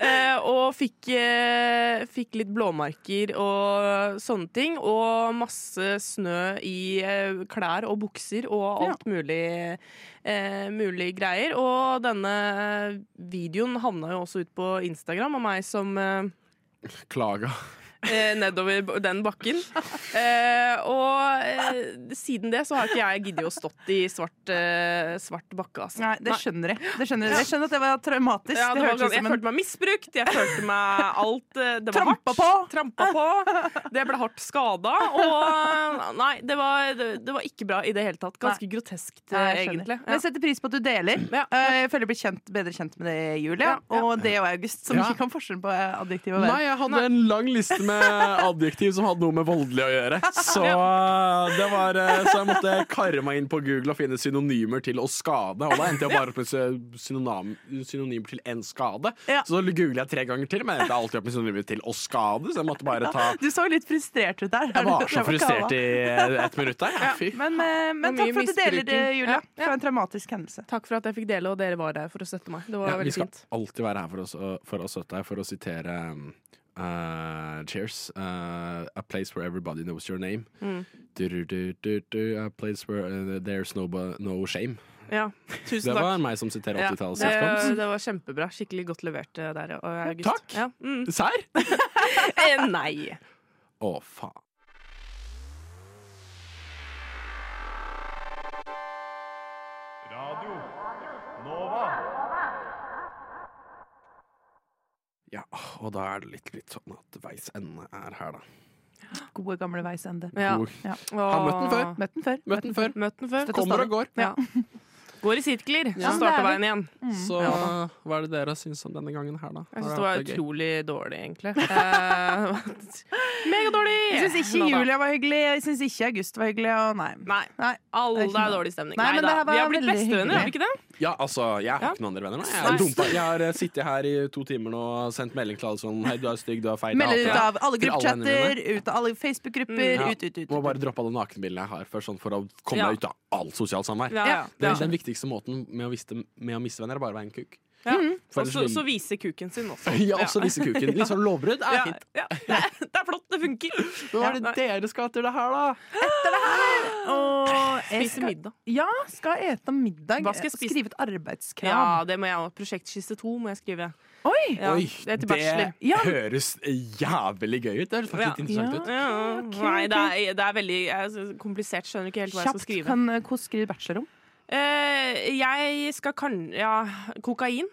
Eh, og fikk, eh, fikk litt blåmerker og sånne ting. Og masse snø i eh, klær og bukser og alt mulig, eh, mulig greier. Og denne videoen havna jo også ut på Instagram av meg som eh,
Klaga.
eh, nedover b- den bakken. Eh, og eh, siden det så har ikke jeg giddet å stått i svart, eh, svart bakke, altså.
Nei, det skjønner jeg. Det skjønner jeg. jeg skjønner at det var traumatisk.
Ja, det
det
var
hørtes
ganske,
ut
jeg
som en
følte meg misbrukt, jeg følte meg alt eh, Det var
Trampa
hardt.
på.
Trampa på. Det ble hardt skada. Og nei, det var, det, det var ikke bra i det hele tatt. Ganske groteskt,
Nei,
eh,
jeg skjønner.
egentlig.
Men jeg setter pris på at du deler.
Ja.
Eh, Jeg føler jeg blir kjent, bedre kjent med det, Julia.
Ja, ja.
Og det og August, som
Ja.
ikke kan forskjellen på eh, adjektiv og verb.
Nei, jeg hadde en lang liste med adjektiv som hadde noe med voldelig å gjøre. Så, det var, eh, så jeg måtte karre meg inn på Google og finne synonymer til å skade. Og da endte jeg bare opp med sy- synonym, synonymer til en skade.
Ja.
Så da googlet jeg tre ganger til, men jeg endte alltid opp med synonymer til å skade. Så jeg måtte bare ta
Du så litt frustrert ut der.
Jeg var så
Det
frustrert
kava.
i ett minutt der. Ja, fy.
Men, eh, men
Det var
takk
mye
for at du deler det,
misbruking.
Julia.
Ja,
Det var en traumatisk hendelse.
Takk for at jeg fikk dele, og dere var der for å støtte meg. Det var
Ja, vi
veldig
skal
fint.
alltid være her for oss, for å støtte deg, for å sitere um, eh, Cheers. eh, a place where everybody knows your name.
Mm.
Du, du, du, du, du, a place where eh, there's no, bu- no shame.
Ja,
Det
tusen takk.
var meg som siterer
Ja,
80-tallets
det,
sitcoms.
det var kjempebra. Skikkelig godt levert eh, der, eh, August.
takk.
Ja. Mm.
Serr? Å,
Eh, Nei.
faen.
Radio Nova.
Ja, og da er det litt, litt sånn at veis ende er her, da.
Gode, gamle veis ende.
Ja.
God.
Ja.
Har møtt den før.
Møtt den før.
Møtt den før.
Møtt den før.
Støtt
Kommer og går.
stadig.
Ja. Går i sirkler.
Ja.
Så starter veien igjen.
Mm.
Så hva er det dere syns om denne gangen her, da?
Jeg
Har
syns det var
hatt gøy?
utrolig dårlig, egentlig. Eh, Megadårlig!
Jeg syns ikke
Nå da.
Julia var hyggelig, jeg syns ikke August var hyggelig, og nei.
Nei.
Nei.
Alle
Det er ikke
er
noe.
dårlig stemning.
Nei,
Nei,
men
da.
det her var
Vi har blitt
veldig
bestevenner, har vi ikke det?
Ja, altså, jeg har
Ja.
ikke noen andre venner. nå. Jeg,
Nei.
er dumpa. jeg har eh, sittet her i to timer nå og sendt melding til alle sånn Hei, du er stygg, du er feit. jeg hater
Melder ut
deg».
av alle
Til alle vennene
gruppechatter, ut av alle
Mm,
Facebook-grupper,
Ja.
ut, ut, ut.
Må
ut.
bare droppe alle nakenbildene jeg har, for, sånn, for å komme
Ja.
meg ut av alt sosialt samvær.
Ja, ja.
Det
ja.
er Den viktigste måten med å, viste, med å miste venner er bare å være en kuk.
Ja.
For
Og
ellers
så,
vil-
så vise kuken sin også.
ja, også vise kuken. Litt sånn lovbrudd er
Ja,
fint.
ja. Det, er, det er flott, det funker.
Men hva er det dere skal til det her, da?
Og jeg
Spise
skal,
middag.
ja, skal ete middag.
Hva skal jeg
og
spise?
Skrive et
Ja,
arbeidskrav.
det må jeg òg. Prosjektskisse to må jeg skrive.
Oi!
Ja,
Oi,
det er til bachelor.
Ja.
høres jævlig gøy ut. Det høres faktisk
Ja.
litt interessant
Ja.
ut.
Ja,
ok,
nei, det
ok.
er, det er veldig jeg er så komplisert. Skjønner ikke helt hva jeg skal
Kjapt,
skrive.
kan eh, hvordan skrive bachelor om?
Eh, jeg skal kan... Ja, kokain.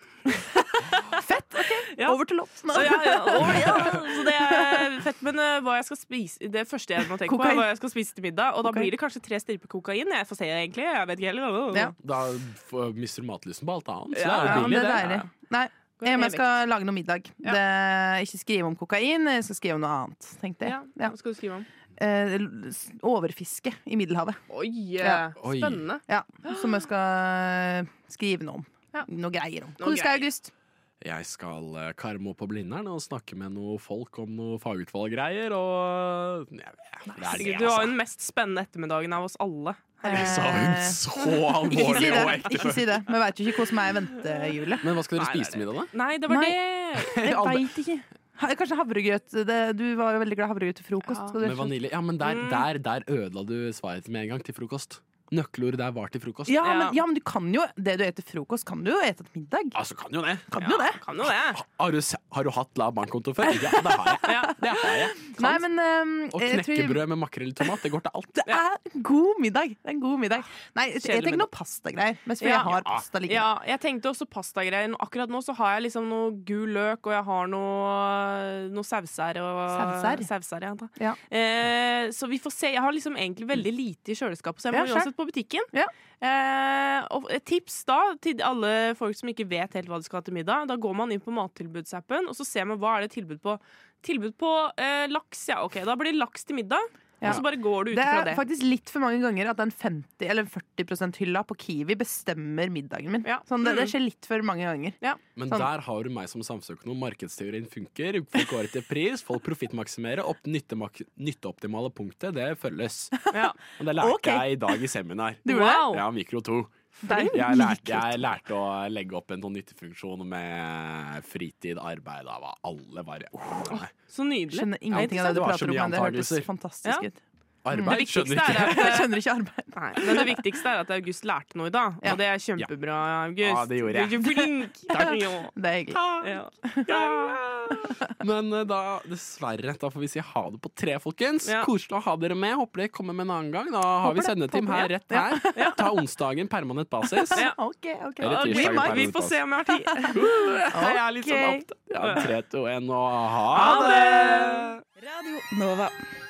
Ja.
Over til låt.
Så, ja, ja, å, ja. så det er fett. Men eh, hva jeg skal spise Det første jeg må tenke på,
Kokain.
er hva jeg skal spise til middag. Og da
Kokain.
blir det kanskje tre striper kokain. Jeg får se, egentlig. Jeg vet ikke heller.
Ja.
Da f- mister du matlysten på alt annet. Så
Ja,
det er
ja,
jo
men
billig,
det er
det.
deilig. Nei,
ned
jeg,
i
jeg skal lage noe middag. Det, ikke skrive om kokain, jeg skal skrive om noe annet. Tenkte jeg. Ja.
Hva skal du skrive om?
Eh, s- overfiske i Middelhavet.
Oi, eh,
Ja.
Oi.
spennende.
Ja, som jeg skal skrive noe om.
Ja.
Noe greier om.
Noe
Hvor skal
greier.
August?
Jeg skal eh, karme opp på Blindern og snakke med noen folk om noe fagutvalggreier. Og eh, ja, det er det,
Du har jo
altså.
den mest spennende ettermiddagen av oss alle.
Eh,
Jeg sa hun så
Ikke si
alvorlig og
det.
ekte
Ikke si det. Vi veit jo ikke hva som er i vente, Julie.
Men hva skal dere
Nei,
spise til middag, da?
Nei, det var
Nei.
det!
Jeg
Alle-
veit ikke. Ha- Kanskje havregrøt. Det, du var jo veldig glad i havregrøt til frokost.
Ja.
Skal du-
Med vanilje? Ja, men
Mm.
der, der, der ødela du svaret til med en gang, til frokost. Nøkkelordet der var til frokost.
ja,
Ja.
men, ja, men du kan jo det du spiser til frokost, kan du jo spise til middag.
Altså, kan jo det.
Kan du det?
Kan jo det.
Har du, se- har du hatt lav bankkonto før? Ja, det har jeg.
Ja.
Det har jeg.
Nei, men ehm,
Og
jeg tror-
knekkebrød med makrell i tomat, det går til alt.
Det er en god middag. Det er en god middag. Nei, jeg
Kjedelig
tenker noe pastagreier. Mens vi
Ja.
har pasta liggende.
Ja, jeg tenkte også pastagreier. Nå- Akkurat nå så har jeg liksom noe gul løk, og jeg har noe, noe sauser. Og,
Sauser?
Sauser, ja, da.
Ja.
Eh, så vi får se. Jeg har liksom egentlig veldig lite i kjøleskapet, så jeg
Ja,
må
skjønt.
uansett på butikken.
Ja.
Eh, og et tips da til alle folk som ikke vet helt hva de skal ha til middag. Da går man inn på mattilbudsappen, og så ser man hva er det tilbud på. Tilbud på eh, laks, ja. Ok, da blir det laks til middag.
Ja.
Og så bare går du ut
Det
ifra
er
det.
faktisk litt for mange ganger at den 50 eller 40 %-hylla på Kiwi bestemmer middagen min.
Ja.
Sånn, det, det
Mm.
skjer litt for mange ganger.
Men
Sånn.
der har du meg som samfunnsøkonom. Markedsteorien funker. Folk går etter pris, folk profittmaksimerer. Opp nyttemak- nytteoptimale punktet, det følges.
Ja.
Og det lærte
Ok.
jeg i dag i seminar.
gjorde det? Wow.
Ja, mikro 2.
Der-
Jeg lærte, jeg lærte å legge opp en sånn nyttefunksjon med fritid, arbeid av alle varianter.
Så nydelig.
Skjønner ingenting av det du
Det var så
prater om,
mye
men det
antagelser.
hørtes fantastisk
Ja.
ut.
Arbeid, skjønner
viktigste er
ikke.
at-
Jeg skjønner ikke arbeid.
Nei, men det viktigste er at August lærte noe i dag,
Ja.
og det er kjempebra, August.
Ja, det gjorde jeg.
Du er så flink!
Takk.
Ja.
Det er hyggelig.
Ja. Ja.
Men eh, da, dessverre, da får vi si ha det på tre, folkens.
Ja.
Koselig å ha dere med. Håper dere kommer med en annen gang. Da har vi
Håper det,
sendeteam
håper
her
det.
rett her. Ta onsdagen permanent basis.
Ja.
OK, OK.
Eller
Vi,
tirsdagen
vi
permanent
får se om jeg har tid.
Jeg er litt sånn
Ok.
opptatt. Ja, tre, to, en, og ha
Ha det!
Radio Nova.